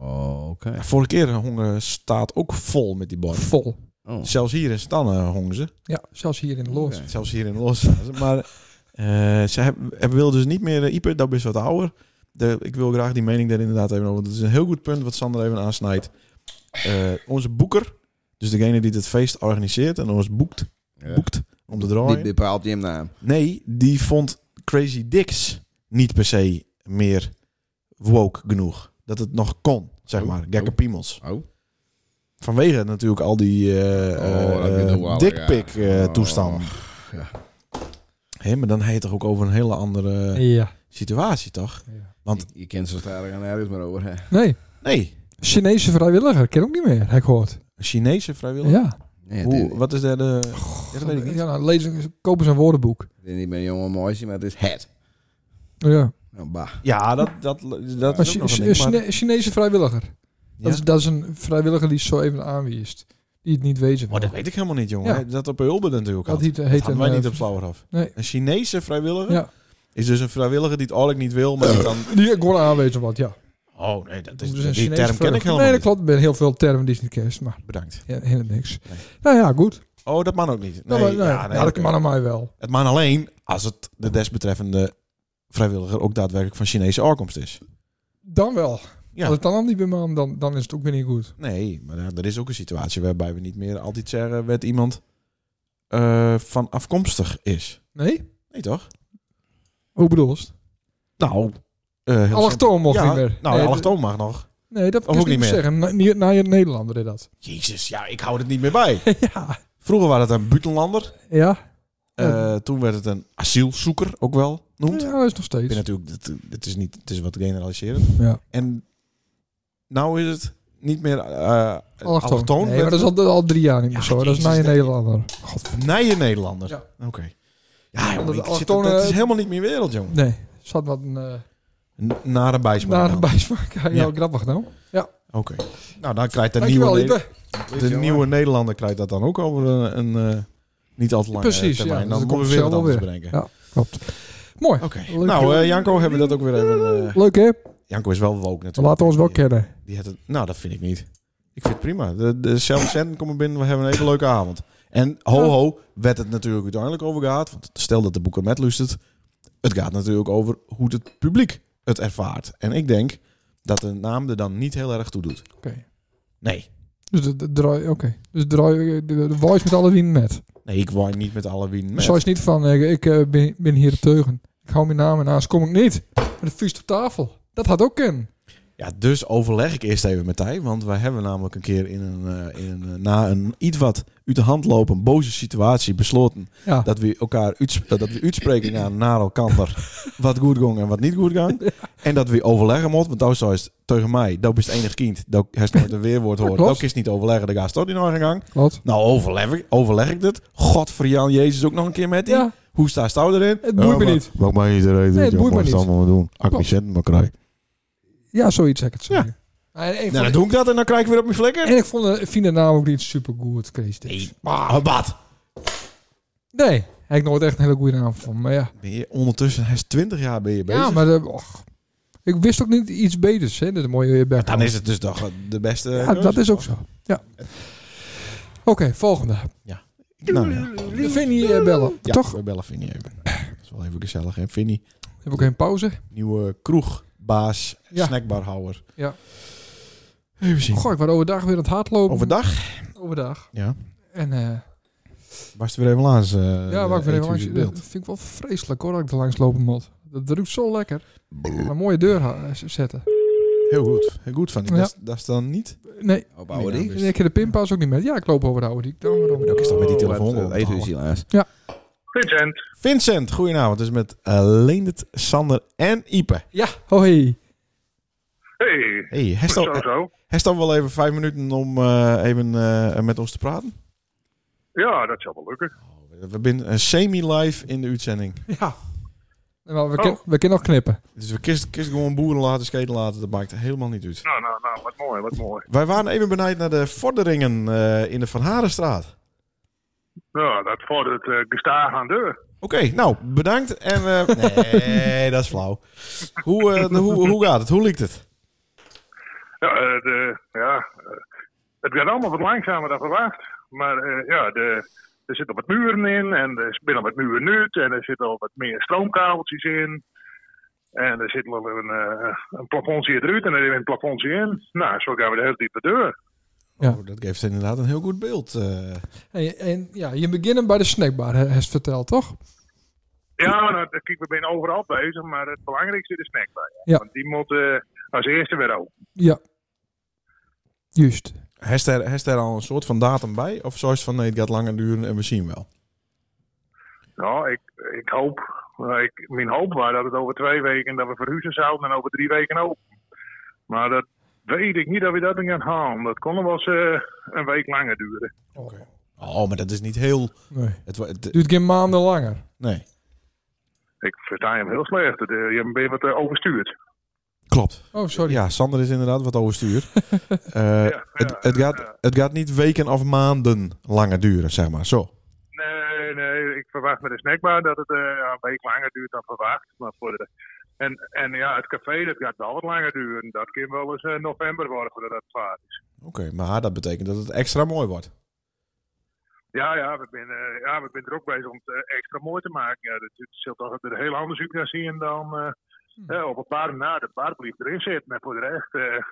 Speaker 7: Oh, oké.
Speaker 1: Ja, vorige keer eh, hongen staat ook vol met die borden.
Speaker 3: vol.
Speaker 7: Oh.
Speaker 1: Zelfs hier in Stannen hongen ze.
Speaker 3: Ja, zelfs hier in de loos.
Speaker 7: Oké.
Speaker 1: Zelfs hier in Los. staan ze. Maar eh, ze hebben, hebben wil dus niet meer eh, Ieper, dat is wat ouder. De, ik wil graag die mening daar inderdaad even over. Want het is een heel goed punt wat Sander even aansnijdt. Eh, onze boeker, dus degene die het feest organiseert en ons boekt,
Speaker 7: Ja.
Speaker 1: boekt om te
Speaker 7: Die
Speaker 1: draaien.
Speaker 7: bepaalt je hem naam.
Speaker 1: Nee, die vond Crazy Dicks niet per se meer woke genoeg. Dat het nog kon, zeg
Speaker 7: Oh,
Speaker 1: maar. Gekke
Speaker 7: oh.
Speaker 1: piemels.
Speaker 7: Oh.
Speaker 1: Vanwege natuurlijk al die eh
Speaker 7: Oh, dat
Speaker 1: eh,
Speaker 7: bedoel ik,
Speaker 1: dikpik
Speaker 7: ja. Oh,
Speaker 1: eh, toestanden.
Speaker 7: ja.
Speaker 1: Hé, maar dan heet het toch ook over een hele andere
Speaker 3: Ja.
Speaker 1: situatie, toch? Want-
Speaker 7: Je, je kent zo sterk en nergens meer over. Hè.
Speaker 3: Nee,
Speaker 1: Nee,
Speaker 3: Chinese vrijwilliger. Ken ook niet meer, heb ik gehoord.
Speaker 1: een Chinese vrijwilliger.
Speaker 3: Ja.
Speaker 7: Nee,
Speaker 1: Hoe,
Speaker 7: dit-
Speaker 1: wat is daar de... Ja, dat weet ik niet.
Speaker 3: Ja, nou, lezen, ze- kopen ze een woordenboek.
Speaker 7: dit is niet meer een jonge mooisje, maar het is het.
Speaker 3: Ja.
Speaker 7: Nou, bah.
Speaker 1: Ja, dat, dat, dat
Speaker 3: Maar
Speaker 1: is
Speaker 3: Chi-
Speaker 1: ook nog een
Speaker 3: Chi-
Speaker 1: ding, maar-
Speaker 3: Chine- Chinese vrijwilliger. Dat, is,
Speaker 1: Ja.
Speaker 3: dat is een vrijwilliger die zo even aanwiest. Die het niet weet.
Speaker 1: Oh, dat weet ik helemaal niet, jongen.
Speaker 3: Ja.
Speaker 1: Dat op Hulbe natuurlijk
Speaker 3: Dat
Speaker 1: al.
Speaker 3: heet,
Speaker 1: Dat
Speaker 3: heet
Speaker 1: hadden wij niet
Speaker 3: eh,
Speaker 1: op Slauwerhof.
Speaker 3: Nee.
Speaker 1: Een Chinese vrijwilliger
Speaker 3: Ja.
Speaker 1: is dus een vrijwilliger die het eigenlijk niet wil, maar die
Speaker 3: [clears throat]
Speaker 1: dan...
Speaker 3: Die gewoon aanwezen wat, ja.
Speaker 1: Oh, nee, dat
Speaker 3: Dus
Speaker 1: is,
Speaker 3: een
Speaker 1: die
Speaker 3: Chinese
Speaker 1: term ken ik
Speaker 3: vrijwilliger.
Speaker 1: helemaal
Speaker 3: Nee, dat
Speaker 1: niet.
Speaker 3: klopt. Er zijn heel veel termen die ze niet kent, maar
Speaker 1: Bedankt.
Speaker 3: ja, helemaal niks.
Speaker 1: Nee.
Speaker 3: Nou ja, goed.
Speaker 1: Oh, dat man ook niet. Nee,
Speaker 3: Nou, maar, nou,
Speaker 1: ja,
Speaker 3: ja,
Speaker 1: nee,
Speaker 3: dat
Speaker 1: oké.
Speaker 3: kan aan mij wel.
Speaker 1: Het man alleen als het de desbetreffende vrijwilliger ook daadwerkelijk van Chinese afkomst is.
Speaker 3: Dan wel.
Speaker 1: Ja.
Speaker 3: Als het dan al niet bij me dan, dan is het ook weer niet goed.
Speaker 1: Nee, maar ja, er is ook een situatie waarbij we niet meer altijd zeggen dat iemand eh, van afkomstig is.
Speaker 3: Nee?
Speaker 1: Nee, toch?
Speaker 3: Hoe bedoel je het?
Speaker 1: Nou, eh heel
Speaker 3: Allochtoon mocht
Speaker 1: simpel.
Speaker 3: niet meer.
Speaker 1: Nou,
Speaker 3: nee, dus-
Speaker 1: nee,
Speaker 3: dat-
Speaker 1: mag nog.
Speaker 3: Nee, dat
Speaker 1: Of
Speaker 3: kan
Speaker 1: ook
Speaker 3: ik niet
Speaker 1: niet
Speaker 3: meer zeggen. Na, niet- na je Nederlander deed
Speaker 1: [laughs]
Speaker 3: dat.
Speaker 1: Jezus, ja, ik hou het niet meer bij.
Speaker 3: ja.
Speaker 1: Vroeger was het een buitenlander.
Speaker 3: Ja?
Speaker 1: Eh,
Speaker 3: Ja.
Speaker 1: Toen werd het een asielzoeker, ook wel noemd.
Speaker 3: Ja, dat is nog
Speaker 1: Ik
Speaker 3: steeds.
Speaker 1: ben natuurlijk, het, het, is niet, het is wat generaliserend.
Speaker 3: Ja.
Speaker 1: En nou is het niet meer eh
Speaker 3: Allochtoon.
Speaker 1: allochtoon.
Speaker 3: Nee, maar dat is al, al drie jaar niet meer
Speaker 1: Ja,
Speaker 3: zo. Dat is
Speaker 1: Jezus,
Speaker 3: na je
Speaker 1: dat-
Speaker 3: Nederlander. God.
Speaker 1: Nije Nederlander.
Speaker 3: Ja.
Speaker 1: Oké. Ja, jongen,
Speaker 3: Omdat eh,
Speaker 1: ik zit-
Speaker 3: allochtonen-
Speaker 1: dat is helemaal niet meer wereld, jongen.
Speaker 3: Nee, zat wat een eh,
Speaker 1: N- Nare bijsmaak.
Speaker 3: nare
Speaker 1: dan.
Speaker 3: bijsmaak. Ja,
Speaker 1: nou. Ja.
Speaker 3: heel grappig nou.
Speaker 1: Oké. Nou, dan krijgt de, nieuwe,
Speaker 3: Dankjewel,
Speaker 1: Ne-
Speaker 3: Ipe.
Speaker 1: de nieuwe Nederlander krijgt dat dan ook over een, een eh, niet al te lange eh,
Speaker 3: Precies,
Speaker 1: termijn.
Speaker 3: ja, dus
Speaker 1: dan
Speaker 3: dat
Speaker 1: moeten
Speaker 3: komt
Speaker 1: we weer wat
Speaker 3: zelf wel
Speaker 1: anders
Speaker 3: weer.
Speaker 1: bedenken.
Speaker 3: Ja. Klopt. Mooi.
Speaker 1: Oké.
Speaker 3: Leuk,
Speaker 1: Nou,
Speaker 3: joh.
Speaker 1: eh, Janko hebben we dat ook weer even... eh,
Speaker 3: Leuk hè?
Speaker 1: Janko is wel woke natuurlijk.
Speaker 3: We laten ons wel
Speaker 1: Die-
Speaker 3: kennen.
Speaker 1: Die had het, nou, dat vind ik niet. Ik vind het prima. De, de zelfcenten komen binnen, we hebben een hele leuke avond. En ho ho, werd het natuurlijk uiteindelijk over gehad. Want stel dat de boeken met luistert. Het gaat natuurlijk over hoe het publiek het ervaart. En ik denk dat de naam er dan niet heel erg toe doet.
Speaker 3: Oké.
Speaker 1: Nee.
Speaker 3: Dus de, de draai, oké. Dus draai, de, de voice met alle wien met.
Speaker 1: Nee, ik wou niet met alle wien met.
Speaker 3: Zoals niet van, eh, ik eh, ben, ben hier de teugen. Ik hou mijn naam en naast kom ik niet. Met een vuist op tafel. Dat had ook kunnen.
Speaker 1: Ja, dus overleg ik eerst even met hij. Want wij hebben namelijk een keer in een, eh, in een, eh, na een iets wat uit de hand lopen boze situatie besloten
Speaker 3: Ja.
Speaker 1: dat we elkaar uits- eh, dat we
Speaker 3: [laughs]
Speaker 1: uitspreken naar, naar elkaar wat goed ging en wat niet goed ging. En dat we overleggen moeten, want toen zei het tegen mij, dat is het enige kind, dat heeft nooit een weerwoord horen,
Speaker 3: klopt.
Speaker 1: dat is niet overleggen, dat gaat toch niet naar de gang.
Speaker 3: Wat?
Speaker 1: Nou, overleg ik, overleg ik dit. God voor Jan Jezus ook nog een keer met die.
Speaker 3: Ja.
Speaker 1: Hoe staat jou erin?
Speaker 3: Het boeit me niet.
Speaker 1: Mag mij niet eruit.
Speaker 3: Nee, het boeit me niet.
Speaker 1: allemaal doen.
Speaker 3: Klopt.
Speaker 1: Accent maar krijg.
Speaker 3: ja, zoiets zeg ik het zo.
Speaker 1: Ja.
Speaker 3: Ja. En, ik
Speaker 1: Nou,
Speaker 3: vond,
Speaker 1: dan doe ik dat en dan krijg ik weer op mijn flikker.
Speaker 3: en ik vond, eh, vind de naam ook niet super goed, Chris.
Speaker 1: Nee,
Speaker 3: Nee.
Speaker 1: maar wat?
Speaker 3: nee. Heb ik nooit echt een hele goede naam van. Maar ja.
Speaker 1: Ben je ondertussen, hij is 20 jaar ben je bezig.
Speaker 3: Ja, maar... eh, och. Ik wist ook niet iets beters, hè, de mooie berg.
Speaker 1: Dan is het dus toch de beste.
Speaker 3: Ja, dat is ook zo. Ja. Oké, volgende.
Speaker 1: Nou, ja.
Speaker 3: Vinnie eh, bellen.
Speaker 1: Ja,
Speaker 3: Toch?
Speaker 1: We bellen Vinnie even. Dat is wel even gezellig, hè? Vinnie,
Speaker 3: Heb ik geen pauze?
Speaker 1: nieuwe kroegbaas,
Speaker 3: Ja.
Speaker 1: snackbarhouwer.
Speaker 3: Ja.
Speaker 1: Even zien.
Speaker 3: Goh, ik was overdag weer aan het hardlopen.
Speaker 1: Overdag
Speaker 3: Overdag.
Speaker 1: Ja.
Speaker 3: En eh,
Speaker 1: was het weer even langs. eh,
Speaker 3: ja, maar ik
Speaker 1: de
Speaker 3: vind het
Speaker 1: etude
Speaker 3: langs, dat
Speaker 1: beeld.
Speaker 3: vind ik wel vreselijk hoor, dat ik er langs lopen moet. Dat ruikt zo lekker. Een mooie deur ha- eh, zetten.
Speaker 1: Heel goed. Heel goed van die.
Speaker 3: Ja.
Speaker 1: Dat is- Dat is dan niet.
Speaker 3: Nee,
Speaker 7: Op
Speaker 1: Nee,
Speaker 7: oude
Speaker 1: nou,
Speaker 7: Riek.
Speaker 1: dus-
Speaker 3: en ik heb de pinpas ook niet met. Ja, ik loop over de oude diek. Daarom, daarom.
Speaker 1: Maar ook is toch met die telefoon.
Speaker 7: Oh,
Speaker 1: wel
Speaker 7: wat, eh, Eten is
Speaker 1: onthouden.
Speaker 7: helaas.
Speaker 4: Vincent.
Speaker 1: Vincent, goedenavond. Dus met eh, Leendert, Sander en Ipe.
Speaker 3: Ja, hoi.
Speaker 4: Hey.
Speaker 1: Hey, hij
Speaker 4: Zo,
Speaker 1: staat-
Speaker 4: zo.
Speaker 1: hij staat wel even vijf minuten om eh, even eh, met ons te praten.
Speaker 4: Ja, dat zal wel lukken.
Speaker 1: We zijn een semi-live in de uitzending.
Speaker 3: Ja. Nou,
Speaker 1: Oh.
Speaker 3: we, kunnen, we kunnen nog knippen.
Speaker 1: Dus we kist, kist gewoon boeren laten, skaten laten. Dat maakt helemaal niet uit.
Speaker 4: Nou, nou, nou, wat mooi, wat mooi.
Speaker 1: Wij waren even benijd naar de vorderingen eh, in de Van Harenstraat.
Speaker 4: Ja, dat vordert het eh, gestaag aan deur.
Speaker 1: Oké, nou, bedankt. En, eh, nee, dat is flauw. Hoe, eh, hoe, hoe gaat het? Hoe liekt het?
Speaker 4: Ja, eh, de, ja eh, het gaat allemaal wat langzamer dan verwacht. Maar eh, ja, de, er zitten wat muren in en er binnen wat muren uit. En er zitten al wat meer stroomkabeltjes in. En er zit wel een, eh, een plafondje eruit en er is een plafondje in. Nou, zo gaan we de hele diepe deur.
Speaker 3: Ja.
Speaker 1: Oh, dat geeft inderdaad een heel goed beeld. eh.
Speaker 3: En, en ja, je beginnen bij de snackbar, hè, heeft verteld, toch?
Speaker 4: Ja, nou, dat- kijk, we zijn overal bezig, maar het belangrijkste is de snack bij.
Speaker 3: Ja.
Speaker 4: Want die moet eh, als eerste weer open.
Speaker 3: Ja. Juist.
Speaker 1: Heeft er, heeft er al een soort van datum bij? Of zoiets van nee, het gaat langer duren en we zien wel?
Speaker 4: Nou, ik, ik hoop. eh, Ik, mijn hoop was dat het over twee weken dat we verhuizen zouden en over drie weken open. Maar dat weet ik niet dat we dat gaan halen. Dat kon nog wel eens eh, een week langer duren.
Speaker 1: Oh, maar dat is niet heel...
Speaker 3: Nee.
Speaker 1: Het, wa- het-
Speaker 3: Duurt geen maanden langer.
Speaker 1: nee,
Speaker 4: Ik versta hem heel slecht. Het, eh, Je bent wat eh, overstuurd.
Speaker 1: klopt.
Speaker 3: Oh, sorry.
Speaker 1: Ja, Sander is inderdaad wat
Speaker 3: [laughs]
Speaker 1: overstuur. Eh, het, het, gaat, het gaat niet weken of maanden langer duren, zeg maar. Zo.
Speaker 4: Nee, nee. Ik verwacht met de snackbar dat het eh, ja, een week langer duurt dan verwacht. Maar voor de, en, en ja, het café dat gaat wel wat langer duren. Dat kan wel eens eh, november worden voordat het klaar is.
Speaker 1: Oké, maar dat betekent dat het extra mooi wordt.
Speaker 4: Ja, ja, we zijn eh, ja, we zijn er ook bezig om het eh, extra mooi te maken. Ja, dat het zult toch er heel anders uit gaan zien dan eh,
Speaker 3: Hmm.
Speaker 4: eh, op een paar na de paardbrief erin zit. Maar voor de rest eh,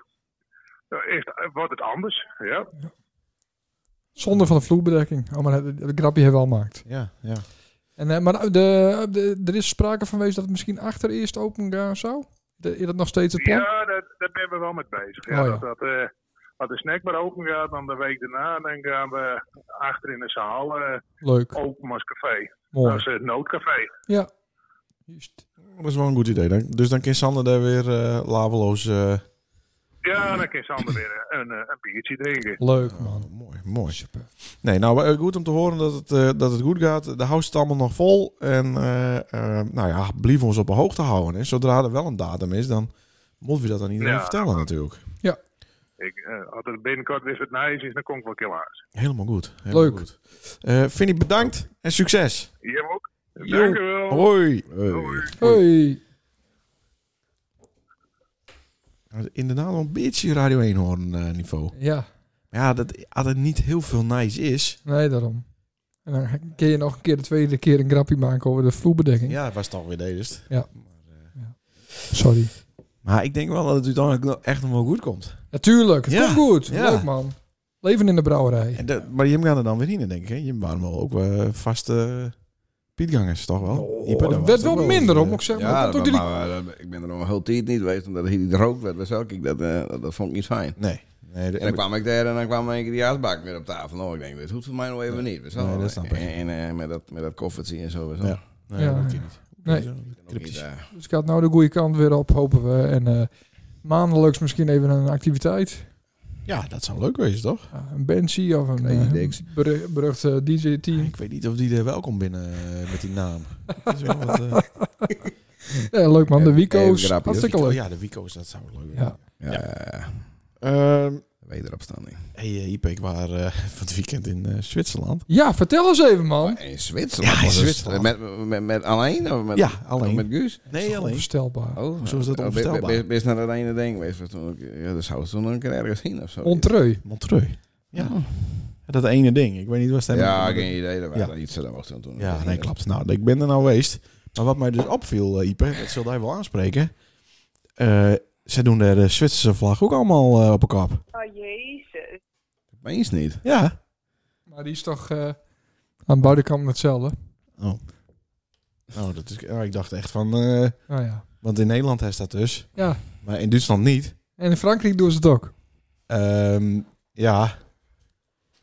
Speaker 4: ja, is, eh, wordt het anders. Ja.
Speaker 3: Zonder van de vloerbedekking. Oh, maar dat, dat grapje hebben we al gemaakt.
Speaker 1: Ja, ja.
Speaker 3: En, eh, maar de, de- er is sprake van wees dat het misschien achter eerst open gaan zou? De- is dat nog steeds het plan?
Speaker 4: Ja, daar, daar ben we wel mee bezig. Ja,
Speaker 3: Oh, ja.
Speaker 4: Dat, dat, eh, als de snack maar open gaat, dan de week daarna, dan gaan we achter in de zaal eh,
Speaker 3: Leuk,
Speaker 4: open als café.
Speaker 3: mooi.
Speaker 4: Als eh, noodcafé.
Speaker 3: Ja. Juist.
Speaker 1: Dat is wel een goed idee. Dan, dus dan kan Sander daar weer eh, laveloos... eh,
Speaker 4: Ja, dan kan Sander weer een, eh, een biertje drinken.
Speaker 3: Leuk, man.
Speaker 1: oh, mooi, mooi. Nee, nou, eh, goed om te horen dat het, eh, dat het goed gaat. De house is allemaal nog vol. En eh, eh, nou ja, blijf ons op de hoogte houden. Hè. Zodra er wel een datum is, dan moeten we dat aan iedereen
Speaker 4: Ja.
Speaker 1: vertellen natuurlijk.
Speaker 4: Ik, eh, als het binnenkort weer wat nice is, dan kom ik wel een keer langs.
Speaker 1: Helemaal goed. helemaal
Speaker 3: Leuk.
Speaker 1: Goed. Eh Vinnie, bedankt en succes.
Speaker 4: Jij ook?
Speaker 1: Jo.
Speaker 4: Dank u wel.
Speaker 1: Hoi.
Speaker 3: Hoi.
Speaker 1: Inderdaad wel een beetje Radio 1 horen niveau.
Speaker 3: Ja,
Speaker 1: Maar ja, dat, als het niet heel veel nice is...
Speaker 3: nee, daarom. En dan kun je nog een keer de tweede keer een grapje maken over de vloerbedekking.
Speaker 1: Ja, het was toch weer deze.
Speaker 3: Sorry.
Speaker 1: Maar ik denk wel dat het uiteindelijk nog echt nog wel goed komt.
Speaker 3: Natuurlijk, het
Speaker 1: Ja,
Speaker 3: komt goed.
Speaker 1: ja.
Speaker 3: Leuk, man. Leven in de brouwerij.
Speaker 1: En dat, maar Jim gaan er dan weer in, denk ik. Hè? Jim waren wel ook eh, vaste Pietgangers, toch
Speaker 7: Oh,
Speaker 1: wel? Ipe, dat
Speaker 3: Oh, Het
Speaker 1: was
Speaker 3: werd
Speaker 1: toch
Speaker 3: wel minder,
Speaker 1: eh,
Speaker 3: om ook zeg maar.
Speaker 7: Ja,
Speaker 3: dat
Speaker 7: dat-
Speaker 3: ook die-
Speaker 7: maar eh, dat- ik ben er nog een hele tijd niet geweest omdat hij niet rook werd. Dus ook, ik, dat, eh, dat, dat vond ik niet fijn.
Speaker 1: Nee. nee de-
Speaker 7: En dan kwam ik daar en dan kwam ik die asbak weer op tafel. Nou, ik denk, dit hoeft voor mij nog even niet. weet je wel.
Speaker 1: Nee, dat snap ik.
Speaker 7: En, en eh, met dat, met dat koffertje en zo. weet je wel.
Speaker 1: Ja. Nee,
Speaker 3: Ja,
Speaker 1: dat kan
Speaker 3: ja.
Speaker 1: niet.
Speaker 3: Nee.
Speaker 1: Zo,
Speaker 7: En ook niet,
Speaker 1: cryptisch.
Speaker 7: eh,
Speaker 3: Dus ik had nou de goede kant weer op, hopen we. En eh, maandelijks misschien even een activiteit.
Speaker 1: Ja, dat zou leuk wezen, toch?
Speaker 3: Ja, een Banshee of een
Speaker 7: Crazy
Speaker 3: eh,
Speaker 7: Dicks.
Speaker 3: beru- berucht eh, DJ-team.
Speaker 1: Ik weet niet of die er welkom binnen eh, met die naam. Dat is wel wat, eh,
Speaker 3: Ja, Eh, leuk man,
Speaker 7: Even-
Speaker 3: de
Speaker 7: even
Speaker 3: Wico's.
Speaker 1: oh
Speaker 7: grapje, Oh,
Speaker 3: Hartstikke
Speaker 1: Wico-
Speaker 3: leuk.
Speaker 1: Ja, de Wico's, dat zou leuk
Speaker 3: Ja.
Speaker 1: zijn.
Speaker 7: ja.
Speaker 1: Ehm,
Speaker 7: Wederopstanding.
Speaker 1: Hey, eh, Ipe, ik was eh, [laughs] van het weekend in eh, Zwitserland.
Speaker 3: Ja, vertel eens even, man.
Speaker 7: In Zwitserland?
Speaker 1: Ja, in
Speaker 7: was het-
Speaker 1: Zwitserland.
Speaker 7: Met, met, met alleen? Of met,
Speaker 1: Ja, alleen.
Speaker 7: Met Guus?
Speaker 1: Nee,
Speaker 3: Onvoorstelbaar.
Speaker 7: Oh,
Speaker 1: Zo is dat
Speaker 7: oh,
Speaker 1: onvoorstelbaar.
Speaker 7: ben- ben- ben je naar dat ene ding geweest? was toen ook- Ja, dat zou het toen een keer ergens zien of zo.
Speaker 3: Ontreu.
Speaker 1: Montreux. Ja. Dat ene ding. Ik weet niet wat het
Speaker 7: Ja, geen idee. Dat
Speaker 1: Ja.
Speaker 7: was iets dat was toen. toen-
Speaker 1: Ja, nee, klopt. Nou, ik ben er nou geweest. Maar wat mij dus opviel, eh, Ipe, dat zult hij wel aanspreken. Eh, ze doen de, de Zwitserse vlag ook allemaal eh, op een kop.
Speaker 8: Oh jezus.
Speaker 7: Meens niet.
Speaker 1: Ja.
Speaker 3: Maar die is toch eh, aan beide kanten hetzelfde?
Speaker 1: Oh. Nou, dat is, nou, ik dacht echt van... eh,
Speaker 3: Nou ja.
Speaker 1: want in Nederland is dat dus.
Speaker 3: Ja.
Speaker 1: Maar in Duitsland niet.
Speaker 3: En in Frankrijk doen ze het ook.
Speaker 1: Ehm, ja.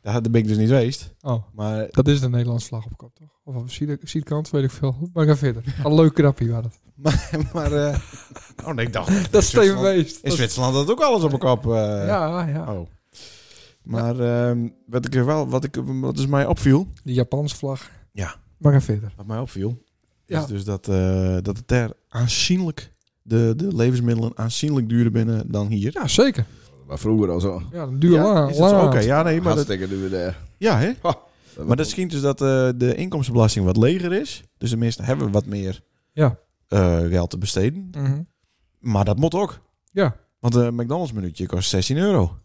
Speaker 1: Daar, daar ben ik dus niet geweest.
Speaker 3: Oh,
Speaker 1: Maar [laughs]
Speaker 3: dat is de Nederlandse vlag op kop, toch? Of op de zijkant, weet ik veel. Maar ga verder. Een leuk krapje waren het.
Speaker 1: maar eh, oh nee, ik dacht.
Speaker 3: [laughs]
Speaker 1: echt,
Speaker 3: Dat
Speaker 1: in
Speaker 3: is Steven
Speaker 1: Zwitserland-
Speaker 3: Weest.
Speaker 1: In Zwitserland had ook alles op elkaar. eh
Speaker 3: Ja, ja.
Speaker 1: Oh. Maar ehm, wat ik er wel, wat ik, wat dus mij opviel,
Speaker 3: Die Japanse vlag.
Speaker 1: Ja.
Speaker 3: Maar ga verder.
Speaker 1: wat mij opviel, is
Speaker 3: Ja.
Speaker 1: dus dat, eh, dat het daar aanzienlijk de, de levensmiddelen aanzienlijk duurder binnen dan hier.
Speaker 3: Ja, zeker.
Speaker 7: Maar vroeger al zo.
Speaker 3: Ja, dan duur lang.
Speaker 1: Ah, is dat zo?
Speaker 3: lang
Speaker 1: Oké,
Speaker 3: aan.
Speaker 1: ja, nee, maar dat,
Speaker 7: Hartstikke duur daar.
Speaker 1: ja, hè?
Speaker 7: Dat
Speaker 1: Maar
Speaker 7: was-
Speaker 1: dat schijnt dus dat eh, de inkomstenbelasting wat leger is. Dus tenminste hebben we wat meer
Speaker 3: Ja.
Speaker 1: eh, geld te besteden.
Speaker 3: Mhm.
Speaker 1: Maar dat moet ook.
Speaker 3: Ja.
Speaker 1: Want een McDonald's minuutje kost 16 euro.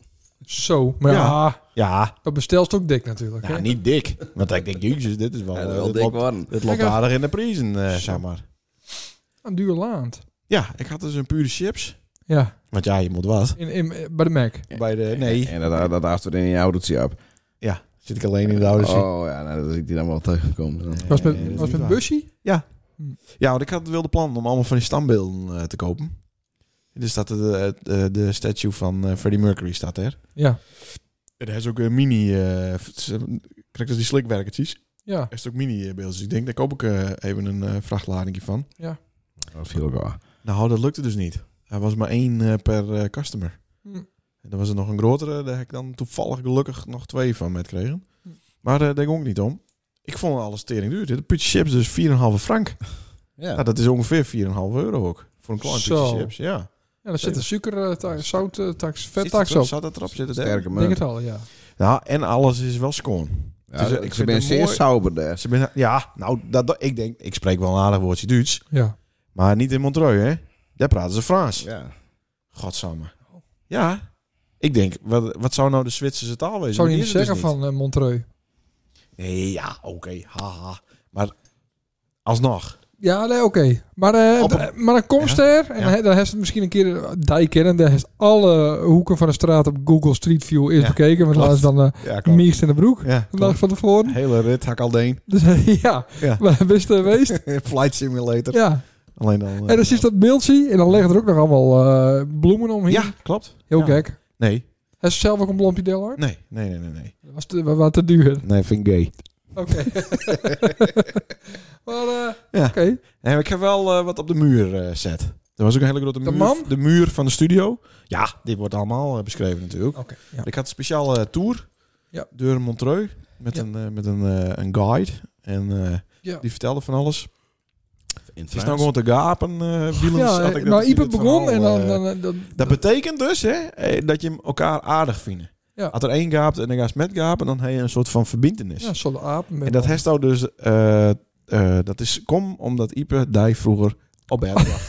Speaker 3: Zo. Maar ja,
Speaker 1: Ja,
Speaker 3: dat bestelst ook dik natuurlijk.
Speaker 1: ja
Speaker 3: hè?
Speaker 1: niet dik. Want ik denk, jezus, dit is wel...
Speaker 7: Ja,
Speaker 1: eh,
Speaker 7: dat wil
Speaker 1: dit
Speaker 7: dik
Speaker 1: loopt-
Speaker 7: worden.
Speaker 1: dit loopt
Speaker 3: Kijk,
Speaker 1: aardig in de prijzen, eh, zeg maar.
Speaker 3: Een duur laand.
Speaker 1: Ja, ik had dus een pure chips.
Speaker 3: Ja.
Speaker 1: Want ja, je moet wat.
Speaker 3: In, in, eh, bij de Mac.
Speaker 1: Bij de... Nee,
Speaker 7: En dat, dat haast we in je autootje op.
Speaker 1: ja. Zit ik alleen in de oude seat.
Speaker 7: Oh ja, nou, dat ik die dan wel tegengekomen. Dan.
Speaker 3: Was
Speaker 1: dat is
Speaker 3: met, was
Speaker 1: niet
Speaker 3: met
Speaker 1: waar.
Speaker 3: Bushy?
Speaker 1: Ja, want ik had wilde plan om allemaal van die standbeelden eh, te kopen. Dus dat de, de, de statue van eh, Freddie Mercury staat er.
Speaker 3: Ja.
Speaker 1: En hij is ook een mini... eh, v- ze- Kijk, dat is die slikwerkertjes.
Speaker 3: Ja.
Speaker 1: Er is ook mini eh, beeldjes. Ik denk, daar koop ik eh, even een eh, vrachtlading van.
Speaker 7: Dat viel ook al.
Speaker 1: Nou, dat lukte dus niet. Er was maar één eh, per eh, customer.
Speaker 3: Hm.
Speaker 1: En dan was er nog een grotere. Daar heb ik dan toevallig gelukkig nog twee van met kregen. Maar eh, daar ging ik niet om. Ik vond alles tering duur. Dit putje chips dus 4,5 frank.
Speaker 7: Ja.
Speaker 1: Nou, dat is ongeveer 4,5 euro ook. Voor een klein
Speaker 3: Zo.
Speaker 1: putje chips, ja.
Speaker 3: Ja, daar zit een eh, suikertax, zouttax,
Speaker 1: Zit dat
Speaker 3: vettax
Speaker 1: erop?
Speaker 3: op.
Speaker 1: Zat dat erop? Zit het er?
Speaker 7: Sterke
Speaker 3: Ik denk
Speaker 7: munt.
Speaker 3: het al, ja.
Speaker 1: Nou, en alles is wel schoon.
Speaker 7: Ja,
Speaker 1: Dus, eh, ik
Speaker 7: ik
Speaker 1: vind
Speaker 7: ben
Speaker 1: het
Speaker 7: zeer
Speaker 1: mooi.
Speaker 7: sauber daar.
Speaker 1: Ze ben, ja, nou, dat, dat- ik denk, ik spreek wel een aardig woordje Duits.
Speaker 3: Ja.
Speaker 1: Maar niet in Montreux, hè. Daar praten ze Frans.
Speaker 7: Ja.
Speaker 1: Godsamme. Ja. Ik denk, wat, wat zou nou de Zwitserse taal wezen?
Speaker 3: Zou je
Speaker 1: Die
Speaker 3: niet
Speaker 1: is er
Speaker 3: zeggen
Speaker 1: dus
Speaker 3: van eh, Montreux?
Speaker 1: niet. Nee, ja, oké. haha. Maar alsnog.
Speaker 3: Ja, nee, oké. Maar, eh,
Speaker 1: Op een-
Speaker 3: d- maar dan komt
Speaker 1: Ja,
Speaker 3: er en
Speaker 1: ja.
Speaker 3: dan he- dan heeft het misschien een keer een dijk in en daar heeft alle hoeken van de straat op Google Street View eerst
Speaker 1: Ja,
Speaker 3: bekeken. Want
Speaker 1: klopt.
Speaker 3: laatst dan eh
Speaker 1: Ja, klopt.
Speaker 3: Miegs in de broek.
Speaker 1: Ja,
Speaker 3: Een dag van tevoren.
Speaker 1: Hele rit, hak al deen.
Speaker 3: Dus [laughs] ja,
Speaker 1: Ja.
Speaker 3: maar best er geweest.
Speaker 1: [laughs] Flight simulator.
Speaker 3: Ja.
Speaker 1: Alleen dan... eh,
Speaker 3: En dan zie je dat beeldje en dan liggen er ook nog allemaal eh, bloemen omheen.
Speaker 1: Ja, klopt.
Speaker 3: Heel
Speaker 1: ja.
Speaker 3: gek.
Speaker 1: Nee.
Speaker 3: Heeft ze zelf ook een bloempje deel hoor?
Speaker 1: Nee, nee, nee, nee. Nee,
Speaker 3: Dat was te, wa- wa- te duur.
Speaker 1: nee vind ik gay.
Speaker 3: Oké.
Speaker 1: [laughs]
Speaker 3: maar eh,
Speaker 1: Ja.
Speaker 3: oké.
Speaker 1: Nee, maar ik heb wel eh, wat op de muur eh, zet. Er was ook een hele grote
Speaker 3: De
Speaker 1: muur.
Speaker 3: man?
Speaker 1: De muur van de studio. Ja, dit wordt allemaal eh, beschreven natuurlijk.
Speaker 3: Oké, ja.
Speaker 1: Ik had een speciale eh, tour
Speaker 3: Ja.
Speaker 1: door Montreux met,
Speaker 3: Ja.
Speaker 1: een, eh, met een, eh, een guide. En eh,
Speaker 3: Ja.
Speaker 1: die vertelde van alles.
Speaker 7: In
Speaker 1: Het is nou gewoon te gapen, eh wielen.
Speaker 3: Ja,
Speaker 1: zat ik
Speaker 3: eh,
Speaker 1: dat-
Speaker 3: nou,
Speaker 1: ik
Speaker 3: Ipe
Speaker 1: dat
Speaker 3: begon
Speaker 1: verhaal,
Speaker 3: en dan...
Speaker 1: eh,
Speaker 3: dan, dan, dan-
Speaker 1: dat betekent dus hè, eh, dat je hem elkaar aardig vindt.
Speaker 3: Ja.
Speaker 1: Als er één gaapt en dan gaat ze met gapen, dan heb je een soort van verbindenis.
Speaker 3: ja, zo'n aap. met-
Speaker 1: en dat heeft nou dus, eh, eh, dat is kom omdat Ipe die vroeger op bed lag.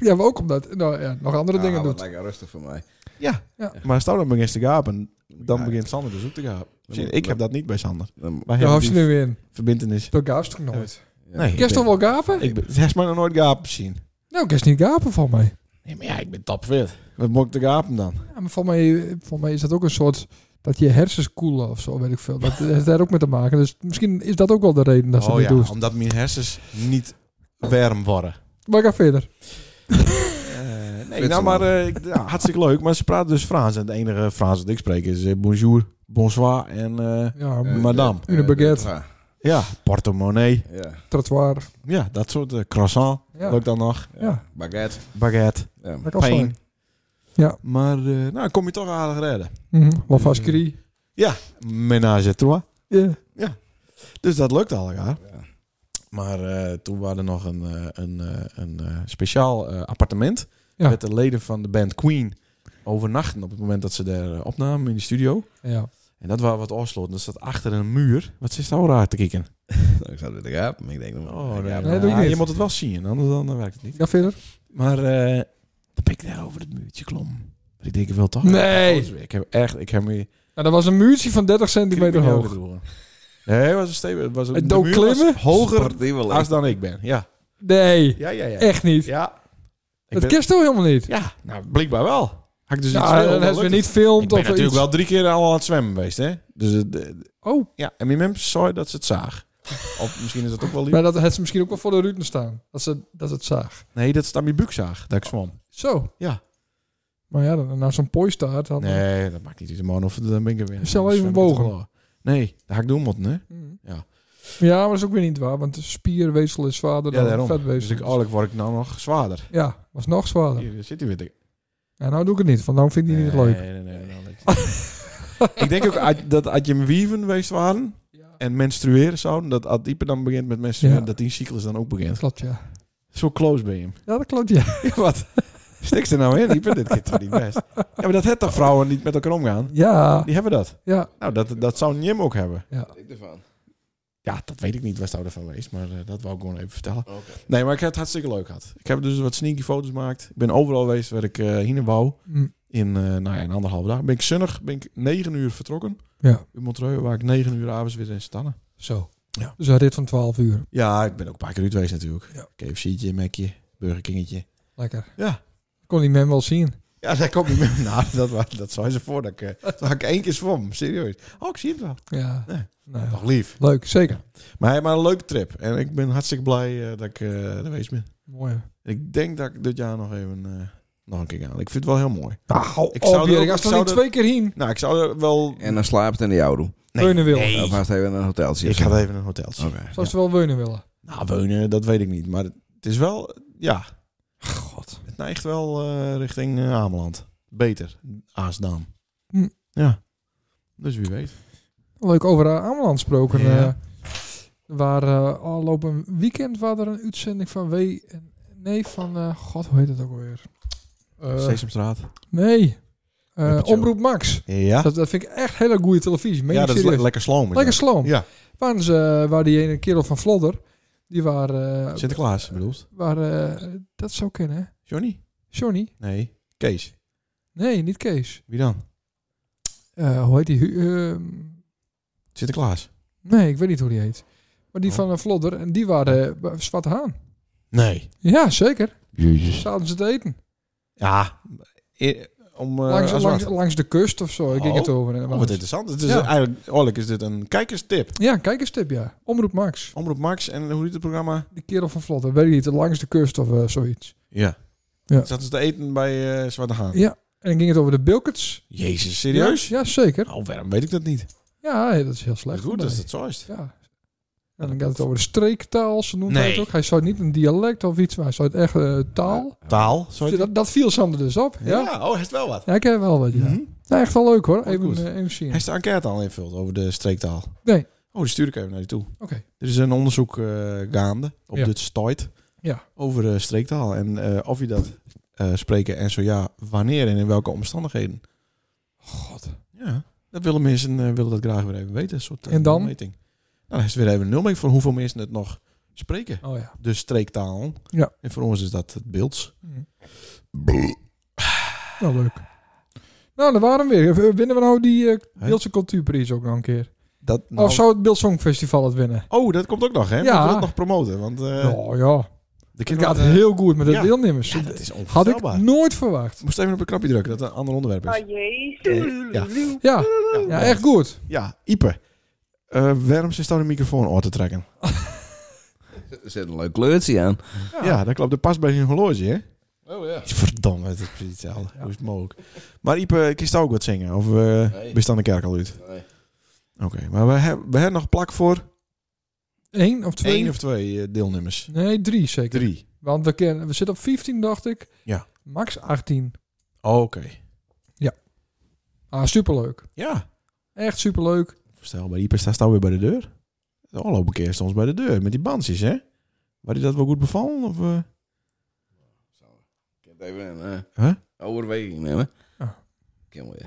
Speaker 3: Ja, maar ook omdat... Nou ja, nog andere dingen doet.
Speaker 7: Ah, Lekker rustig voor mij.
Speaker 1: ja.
Speaker 3: Ja.
Speaker 1: maar stel dat begint te gapen, dan
Speaker 7: Ja.
Speaker 1: begint Sander dus ook te gapen.
Speaker 7: Dan moet-
Speaker 1: Ik heb dat niet bij Sander.
Speaker 7: Dan-
Speaker 1: Wij
Speaker 3: Daar
Speaker 1: hebben
Speaker 3: hoef je
Speaker 1: die
Speaker 3: nu in.
Speaker 1: verbindenis.
Speaker 3: Dat gaafst toch nooit.
Speaker 1: Nee,
Speaker 3: Kerst toch wel gapen?
Speaker 1: Ik ben, hij is mij nog nooit gapen zien.
Speaker 3: Nou, kerst niet gapen van mij.
Speaker 1: Nee, maar ja, ik ben topfit. Wat moet ik te gapen dan?
Speaker 3: Ja, maar van mij, van mij is dat ook een soort... Dat je hersens koelen of zo, weet ik veel. Dat heeft daar ook mee te maken. Dus misschien is dat ook wel de reden dat ze
Speaker 1: oh
Speaker 3: het
Speaker 1: ja,
Speaker 3: niet doen.
Speaker 1: omdat mijn hersens niet warm worden.
Speaker 3: Maar ga verder.
Speaker 1: nee, nou maar eh, ik, ja, hartstikke leuk. Maar ze praten dus Frans. En de enige Frans dat ik spreek is eh, bonjour, bonsoir en eh
Speaker 3: Ja,
Speaker 7: Eh,
Speaker 1: madame.
Speaker 7: eh,
Speaker 3: Une baguette.
Speaker 7: Ja.
Speaker 1: Ja, portemonnee.
Speaker 7: ja.
Speaker 3: trottoir.
Speaker 1: Ja, dat soort eh, croissant.
Speaker 3: Ja.
Speaker 1: Leuk dan nog.
Speaker 3: Ja,
Speaker 7: Baguette.
Speaker 1: Baguette,
Speaker 7: Ja.
Speaker 3: dat kan
Speaker 1: pijn.
Speaker 3: zijn. Ja.
Speaker 1: Maar eh nou, kom je toch aardig redden.
Speaker 3: Mhm.
Speaker 1: Eh,
Speaker 3: Lavaskerie.
Speaker 1: Menage à trois.
Speaker 3: Ja.
Speaker 1: Dus dat lukt al, ja.
Speaker 7: Ja.
Speaker 1: Maar eh, toen waren er nog een, eh, een, eh, een eh, speciaal eh, appartement
Speaker 3: Ja.
Speaker 1: met de leden van de band Queen overnachten op het moment dat ze daar eh, opnamen in de studio.
Speaker 3: Ja.
Speaker 1: En dat was wat afsloten. Dat staat achter een muur. Wat is nou raar te kijken?
Speaker 7: Nou, ik zou dit ik heb, maar ik denk nog
Speaker 1: Oh,
Speaker 7: ik
Speaker 1: ja,
Speaker 7: heb-
Speaker 3: nee, doe ik
Speaker 1: ja,
Speaker 3: niet.
Speaker 1: je moet het wel zien, anders dan, dan werkt het niet.
Speaker 3: Ga verder.
Speaker 1: Maar eh dan ben ik daar over het muurtje klom. Ik denk wel toch? Ik
Speaker 3: Nee.
Speaker 1: heb foto's- Ik heb echt, ik heb me
Speaker 3: Nou, dat was een muurtje van 30 centimeter hoog.
Speaker 1: Nee, het was een stevig. Het was een,
Speaker 3: Het
Speaker 1: de
Speaker 3: dook
Speaker 1: muur was
Speaker 3: klimmen?
Speaker 1: Hoger
Speaker 7: Sportieve lijn.
Speaker 1: als dan ik ben. Ja.
Speaker 3: Nee,
Speaker 1: Ja, ja, ja.
Speaker 3: echt niet.
Speaker 1: Ja. Ik
Speaker 3: Eh, dat
Speaker 1: ben-
Speaker 3: kist toch helemaal niet?
Speaker 1: ja, nou, blijkbaar wel. Had ik dus iets
Speaker 3: Ja, dan hebben we niet filmt
Speaker 1: Ik ben
Speaker 3: of
Speaker 1: natuurlijk
Speaker 3: iets.
Speaker 1: wel drie keer al aan het zwemmen geweest, hè? Dus het- de-
Speaker 3: Oh,
Speaker 1: ja, en mijn mem zei dat ze het zaag. Of misschien is dat ook wel lief.
Speaker 3: [laughs] maar dat had ze misschien ook wel voor de ruten staan. Dat ze dat ze het zaag.
Speaker 1: Nee, dat ze het aan mijn buik zaag, dat ik zwom.
Speaker 3: Zo.
Speaker 1: Ja.
Speaker 3: Maar ja, dan, na zo'n poistaart had
Speaker 1: Nee, dat maakt niet uit, man. Of dan ben ik er weer.
Speaker 3: Zal even
Speaker 1: Zwem ik het
Speaker 3: bogen.
Speaker 1: wel. Nee, dat had ik doen moeten, hè? Ja.
Speaker 3: Hmm. Ja, maar dat is ook weer niet waar, want de spierweefsel is zwaarder
Speaker 1: Ja,
Speaker 3: dan
Speaker 1: daarom. Dus
Speaker 3: vetweefsel.
Speaker 1: ik, eigenlijk word ik nou nog zwaarder.
Speaker 3: Ja, was nog zwaarder.
Speaker 1: Hier, daar zit hij weer. te-
Speaker 3: Ja, nou doe ik het niet, want nou vind ik het niet leuk.
Speaker 1: Nee, nee, nee. nou,
Speaker 3: [laughs]
Speaker 1: dat- ik denk ook uit- dat als je een wieven geweest waren en menstrueren zouden, dat als dieper dan begint met menstrueren,
Speaker 3: Ja.
Speaker 1: dat die cyclus dan ook
Speaker 3: Dat
Speaker 1: begint.
Speaker 3: klopt, ja.
Speaker 1: [laughs] Zo close ben je hem.
Speaker 3: Ja, dat klopt, ja.
Speaker 1: [laughs] Wat? Stik ze nou in, Ieper? Dit kan toch niet best? Ja, maar dat hebben toch vrouwen niet met elkaar omgaan?
Speaker 3: Ja,
Speaker 1: Die hebben dat.
Speaker 3: ja.
Speaker 1: Nou, dat, dat zou Jim ook hebben.
Speaker 7: Ik ervan.
Speaker 1: Ja, dat weet ik niet wat zou ervan geweest, maar eh, dat wou ik gewoon even vertellen.
Speaker 7: Oké.
Speaker 1: Nee, maar ik heb het hartstikke leuk gehad. Ik heb dus wat sneaky foto's gemaakt. Ik ben overal geweest waar ik eh heen wou.
Speaker 3: Hm.
Speaker 1: In eh, nou ja, een anderhalve dag. Ben ik zonnig, ben ik negen uur vertrokken.
Speaker 3: Ja.
Speaker 1: In Montreux, waar ik negen uur avonds weer in stannen.
Speaker 3: Zo.
Speaker 1: Ja.
Speaker 3: Dus een rit van 12 uur.
Speaker 1: Ja, ik ben ook een paar keer uit geweest natuurlijk.
Speaker 3: Ja.
Speaker 1: KFC'tje, Mac'je, Burger Kingetje.
Speaker 3: Lekker.
Speaker 1: Ja.
Speaker 3: Kon die men wel zien.
Speaker 1: Ja, daar [laughs] komt niet meer naar. Nou, Dat, wa- dat zou ze voor. Dat ik, eh, dat ik één keer zwom. Serieus. Oh, ik zie het wel.
Speaker 3: Ja.
Speaker 1: Nee.
Speaker 3: Nou ja.
Speaker 1: Nog lief.
Speaker 3: Leuk, zeker.
Speaker 1: Maar, hij maar een leuke trip. En ik ben hartstikke blij eh, dat ik eh er geweest ben.
Speaker 3: Mooi.
Speaker 1: Ik denk dat ik dit jaar nog even eh, nog een keer ga. Ik vind het wel heel mooi.
Speaker 3: Nou, hou
Speaker 1: Ik
Speaker 3: ik
Speaker 1: zou
Speaker 3: op,
Speaker 1: er ook-
Speaker 3: Jurk. Als
Speaker 1: ik
Speaker 3: er
Speaker 1: zou
Speaker 3: niet
Speaker 1: er-
Speaker 3: twee keer heen.
Speaker 1: Nou, ik zou er wel...
Speaker 7: En dan slaapt het in de oude.
Speaker 3: Weunen willen.
Speaker 7: Of haast even in een hoteltje.
Speaker 1: Ik had even een hoteltje.
Speaker 7: Oké.
Speaker 3: Zou ze wel weunen willen.
Speaker 1: Nou, wonen, dat weet ik niet. Maar het is wel... Ja. God. Het neigt wel eh, richting eh, Ameland. Beter. Aasdam.
Speaker 3: Hm.
Speaker 1: Ja. Dus wie weet.
Speaker 3: Leuk over eh, Ameland gesproken.
Speaker 1: Ja.
Speaker 3: eh, waar eh al een weekend waar er een uitzending van W. en- Nee, van. eh, God, hoe heet het ook alweer? Eh,
Speaker 1: Sesamstraat.
Speaker 3: nee. Eh,
Speaker 1: Muppet Show.
Speaker 3: Omroep Max.
Speaker 1: Ja.
Speaker 3: Dat, dat vind ik echt hele goede televisie. Meen
Speaker 1: ja,
Speaker 3: ik
Speaker 1: dat is le-
Speaker 3: serieus.
Speaker 1: lekker sloom.
Speaker 3: lekker sloom.
Speaker 1: Ja.
Speaker 3: Waren ze, eh, waar die ene kerel van Vlodder. Die waren. eh,
Speaker 1: Sinterklaas bedoeld.
Speaker 3: waar, eh, dat zou kennen, hè?
Speaker 1: Johnny?
Speaker 3: Johnny?
Speaker 1: Nee. Kees.
Speaker 3: Nee, niet Kees.
Speaker 1: Wie dan?
Speaker 3: Eh, hoe heet die? Hu- eh,
Speaker 1: Sinterklaas.
Speaker 3: nee, ik weet niet hoe die heet. Maar die
Speaker 1: Oh.
Speaker 3: van eh, Vlodder. En die waren eh, bij Zwarte Haan.
Speaker 1: Nee.
Speaker 3: Ja, zeker.
Speaker 6: Jezus.
Speaker 3: Zaten ze te eten.
Speaker 1: Ja. i- Om, eh
Speaker 3: langs,
Speaker 1: als
Speaker 3: langs,
Speaker 1: wat.
Speaker 3: langs de kust of zo. Ik ging
Speaker 1: Oh.
Speaker 3: het over.
Speaker 1: Oh, wat interessant. Het is
Speaker 3: Ja.
Speaker 1: eigenlijk, eigenlijk is dit een kijkerstip.
Speaker 3: ja, kijkerstip, ja. Omroep Max.
Speaker 1: Omroep Max en hoe heet het programma?
Speaker 3: Die kerel van Vlotten. Weet je niet, langs de kust of eh, zoiets.
Speaker 1: Ja.
Speaker 3: Ja.
Speaker 1: Zaten ze te eten bij eh Zwarte Haan?
Speaker 3: Ja. En dan ging het over de Bilkets.
Speaker 1: Jezus, serieus?
Speaker 3: Ja, ja, zeker.
Speaker 1: Nou, waarom weet ik dat niet?
Speaker 3: Ja, dat is heel
Speaker 1: Maar
Speaker 3: slecht.
Speaker 1: goed,
Speaker 3: Nee.
Speaker 1: dat is het zo is. het.
Speaker 3: Ja. En dan gaat het over de streektaal. Ze noemt hij
Speaker 1: Nee.
Speaker 3: het ook. Hij zou niet een dialect of iets, maar hij zou het echt eh, taal.
Speaker 1: Taal, zo heet het.
Speaker 3: dat, dat viel Sander dus op. Ja.
Speaker 1: Ja.
Speaker 3: ja.
Speaker 1: oh, heeft wel wat.
Speaker 3: ik heb wel wat, ja.
Speaker 1: Mhm.
Speaker 3: Nou, echt wel leuk hoor. Even,
Speaker 1: goed.
Speaker 3: eh, even zien.
Speaker 1: Hij is de enquête al invult over de streektaal.
Speaker 3: Nee.
Speaker 1: Oh, die stuur ik even naar je toe.
Speaker 3: Oké.
Speaker 1: Er is een onderzoek eh, gaande op
Speaker 3: Ja.
Speaker 1: dit stoit
Speaker 3: Ja.
Speaker 1: over eh, streektaal en eh, of je dat eh, spreken en zo ja, wanneer en in welke omstandigheden.
Speaker 3: God.
Speaker 1: Ja, dat willen mensen eh, willen dat graag weer even weten. Een soort eh,
Speaker 3: En dan?
Speaker 1: meting. Nou, dat is weer even een nulmeting voor hoeveel mensen het nog spreken.
Speaker 3: Oh ja.
Speaker 1: De streektaal.
Speaker 3: Ja.
Speaker 1: En voor ons is dat het beelds.
Speaker 3: Mhm. Nou, leuk. Nou, daar waren we weer. Winnen we nou die eh,
Speaker 1: Hè?
Speaker 3: Beeldse Cultuurprijs ook nog een keer?
Speaker 1: Dat nou-
Speaker 3: Of zou het Beeld Songfestival het winnen?
Speaker 1: Oh, dat komt ook nog, hè?
Speaker 3: Ja.
Speaker 1: Ja. Moeten we dat nog promoten? Want eh
Speaker 3: oh ja.
Speaker 1: de
Speaker 3: Het
Speaker 1: kinderen...
Speaker 3: gaat heel goed met de
Speaker 1: ja.
Speaker 3: deelnemers.
Speaker 1: Ja, dat is
Speaker 3: Had ik
Speaker 1: onvoorstelbaar.
Speaker 3: nooit verwacht.
Speaker 1: Ik moest even op een knopje drukken, dat het een ander onderwerp is. Eh, ja.
Speaker 3: Ja,
Speaker 1: Ja,
Speaker 3: ja echt goed.
Speaker 1: Ja, Ipe. Eh waarom zit nou de microfoon oor te trekken?
Speaker 7: Er zit een leuk kleurtje aan.
Speaker 1: Ja, dat klopt. Dat past bij geen horloge, hè?
Speaker 7: Oh ja.
Speaker 1: [laughs] Verdomme, het is precies hetzelfde. Hoe is het mogelijk? Maar Ipe, kist ook wat zingen? Of eh ben je aan de kerk al uit?
Speaker 7: Nee.
Speaker 1: Oké, maar we, heb- we hebben nog plak voor
Speaker 3: Eén of twee?
Speaker 1: één of twee eh, deelnemers.
Speaker 3: Nee, drie zeker.
Speaker 1: Drie.
Speaker 3: Want we, kennen, we zitten op 15, dacht ik.
Speaker 1: Ja.
Speaker 3: Max 18.
Speaker 1: Oké.
Speaker 3: Ah, superleuk.
Speaker 1: Ja.
Speaker 3: Echt superleuk.
Speaker 1: Stel, bij Ipe staat staan weer bij de deur. De afgelopen keer stond ze bij de deur met die bandjes, hè? Waar die dat wel goed bevallen? Of, eh?
Speaker 7: Ik heb even een
Speaker 1: Huh? Ah.
Speaker 7: eh overweging nemen.
Speaker 3: Ja.
Speaker 7: Kimmel, ja.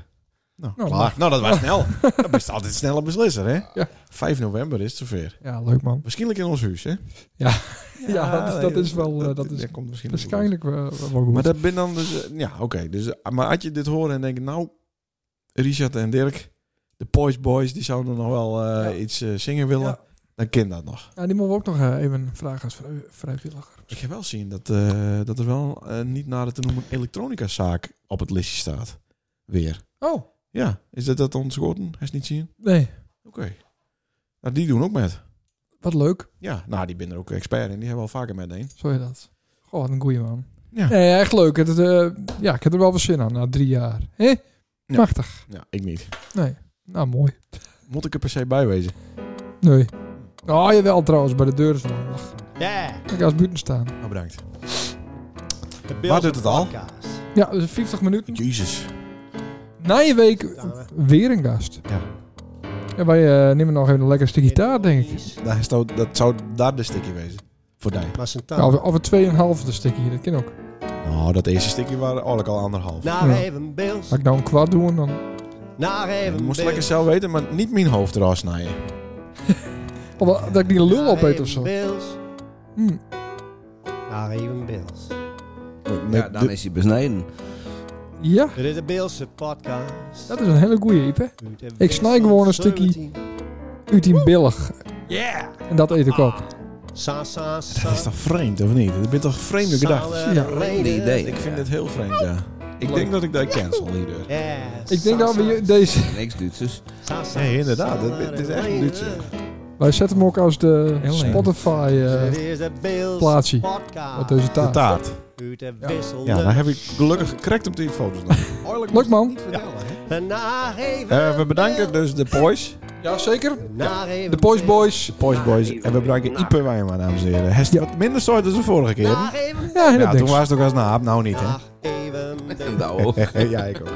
Speaker 1: Nou,
Speaker 3: Nou,
Speaker 1: klaar. nou, dat was
Speaker 3: [laughs]
Speaker 1: snel. dat is altijd een snelle beslisser, hè?
Speaker 3: Ja.
Speaker 1: 5 november is het zover.
Speaker 3: Ja, leuk man.
Speaker 1: Waarschijnlijk in ons [laughs] huis, hè?
Speaker 3: Ja, dat, is,
Speaker 1: nee,
Speaker 3: dat is wel... eh, Dat is
Speaker 1: komt misschien wel goed.
Speaker 3: waarschijnlijk wel, wel goed.
Speaker 1: Maar dat ben dan dus... eh, Ja, oké. Dus, eh, maar had je dit horen en denk nou... Richard en Dirk, de Poise Boys, die zouden nog wel eh, iets eh, zingen willen.
Speaker 3: Ja.
Speaker 1: Dan ken dat nog.
Speaker 3: Ja, die moeten we ook nog eh, even vragen als vrij- vrijwilliger.
Speaker 1: Ik heb wel zien dat, eh, dat er wel eh, niet nader te noemen elektronica-zaak op het listje staat. Weer.
Speaker 3: Oh,
Speaker 1: Ja, is dat dat ontschoten? Hij is niet zien?
Speaker 3: nee.
Speaker 1: Oké. Nou, die doen ook met.
Speaker 3: Wat leuk.
Speaker 1: Ja, nou, die ben er ook expert in. Die hebben al vaker met een.
Speaker 3: Zo heet dat. Goh, wat een goeie man.
Speaker 1: Ja.
Speaker 3: Nee, echt leuk. Het, is, eh, ja, ik heb er wel veel zin aan na drie jaar. Hé?
Speaker 1: Ja.
Speaker 3: Machtig.
Speaker 1: Ja, ik niet.
Speaker 3: Nou, mooi.
Speaker 1: Moet ik er per se bij wezen?
Speaker 3: Nee. Oh, jawel trouwens, bij de deur is nog. Ach,
Speaker 2: Ja,
Speaker 3: Ik ga als buiten staan.
Speaker 1: Nou, bedankt.
Speaker 2: de
Speaker 1: Waar doet het al?
Speaker 2: Podcast.
Speaker 3: Ja, dus 50 minuten.
Speaker 1: Jezus.
Speaker 3: Na je week weer een gast.
Speaker 1: Ja.
Speaker 3: Ja, wij eh, nemen nog even een lekker stukje gitaar, denk ik.
Speaker 1: Daar zou, dat zou daar de sticky wezen. Voor die.
Speaker 2: Maar zijn
Speaker 3: Ja,
Speaker 2: taal.
Speaker 3: of, of een tweeënhalfde stukje, dat kan ook.
Speaker 1: Nou, dat eerste sticky waren eigenlijk al anderhalf.
Speaker 2: Naar
Speaker 3: Ja.
Speaker 2: even Bills.
Speaker 3: Als ik nou een kwart doe, dan...
Speaker 2: Naar
Speaker 1: Ik
Speaker 2: even
Speaker 1: moest
Speaker 2: Bills.
Speaker 1: lekker zelf weten, maar niet mijn hoofd eraf snijden.
Speaker 3: Of wel, dat ik die lul
Speaker 2: Naar
Speaker 3: opeet
Speaker 2: even
Speaker 3: of zo.
Speaker 2: Bills.
Speaker 3: Hm.
Speaker 2: Naar even Bills.
Speaker 7: Ja, dan is hij besneden.
Speaker 3: Ja,
Speaker 2: Dit is de Beelse podcast.
Speaker 3: dat is een hele goeie, Iep, hè?
Speaker 2: Uit de
Speaker 3: Ik snij gewoon een stukje.
Speaker 2: 17.
Speaker 3: Uit die billig. Yeah! En dat eet ik op.
Speaker 2: Sa, sa, sa.
Speaker 1: Dat is toch vreemd, of niet? Dat bent toch vreemde gedachten?
Speaker 3: Ja,
Speaker 7: Geen idee.
Speaker 1: Ik vind dit heel vreemd, ja. Ik
Speaker 3: Leuk.
Speaker 1: denk dat ik dat cancel dus. hierdoor.
Speaker 3: Ik denk dat we hier- deze...
Speaker 7: Niks Duitsers.
Speaker 1: Nee, inderdaad, dit- dit is echt een Duitse.
Speaker 3: Wij zetten hem ook als de
Speaker 8: Heel leuk.
Speaker 3: Spotify eh,
Speaker 2: Dit is de Beelse
Speaker 3: plaatsje.
Speaker 2: podcast.
Speaker 3: met deze
Speaker 1: De
Speaker 3: taart.
Speaker 1: taart.
Speaker 2: Uit de
Speaker 3: Ja.
Speaker 2: wissel.
Speaker 1: Ja, daar heb ik gelukkig gekrekt op die foto's nog.
Speaker 3: [laughs] Leuk man.
Speaker 2: Naar even
Speaker 1: Eh, we bedanken
Speaker 2: Bills.
Speaker 1: dus de Poys.
Speaker 3: Jazeker.
Speaker 2: Naar even
Speaker 3: De Boys
Speaker 2: Bills.
Speaker 3: Boys.
Speaker 1: Poys Boys. En we bedanken Ipe Wijma, dames en heren. Hij is
Speaker 3: Ja. Nou.
Speaker 1: wat minder soort dan de vorige
Speaker 2: Naar
Speaker 1: keer.
Speaker 2: even
Speaker 3: Ja, heel
Speaker 1: Ja,
Speaker 3: ja,
Speaker 1: toen was het ook als naap. Nou niet, hè?
Speaker 2: Naar even Bills.
Speaker 1: [laughs]
Speaker 7: Nou, ook.
Speaker 1: ja, ik ook.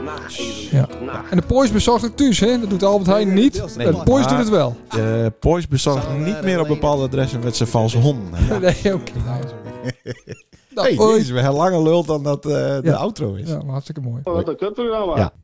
Speaker 3: Ja. En de Boys bezorgt het thuis, hè? Dat doet Albert Heijn niet.
Speaker 1: Nee.
Speaker 3: de Boys doet het wel.
Speaker 1: De Poys bezorgt niet meer op bepaalde adressen met zijn valse honden. Ja.
Speaker 3: [laughs] Nee, oké. Nou, nou,
Speaker 1: Hey,
Speaker 3: hoi.
Speaker 1: jezus, we hebben langer lul dan dat eh, de
Speaker 3: Ja.
Speaker 1: outro is.
Speaker 3: Ja, maar hartstikke mooi.
Speaker 9: Wat een kutprogramma.
Speaker 1: Ja.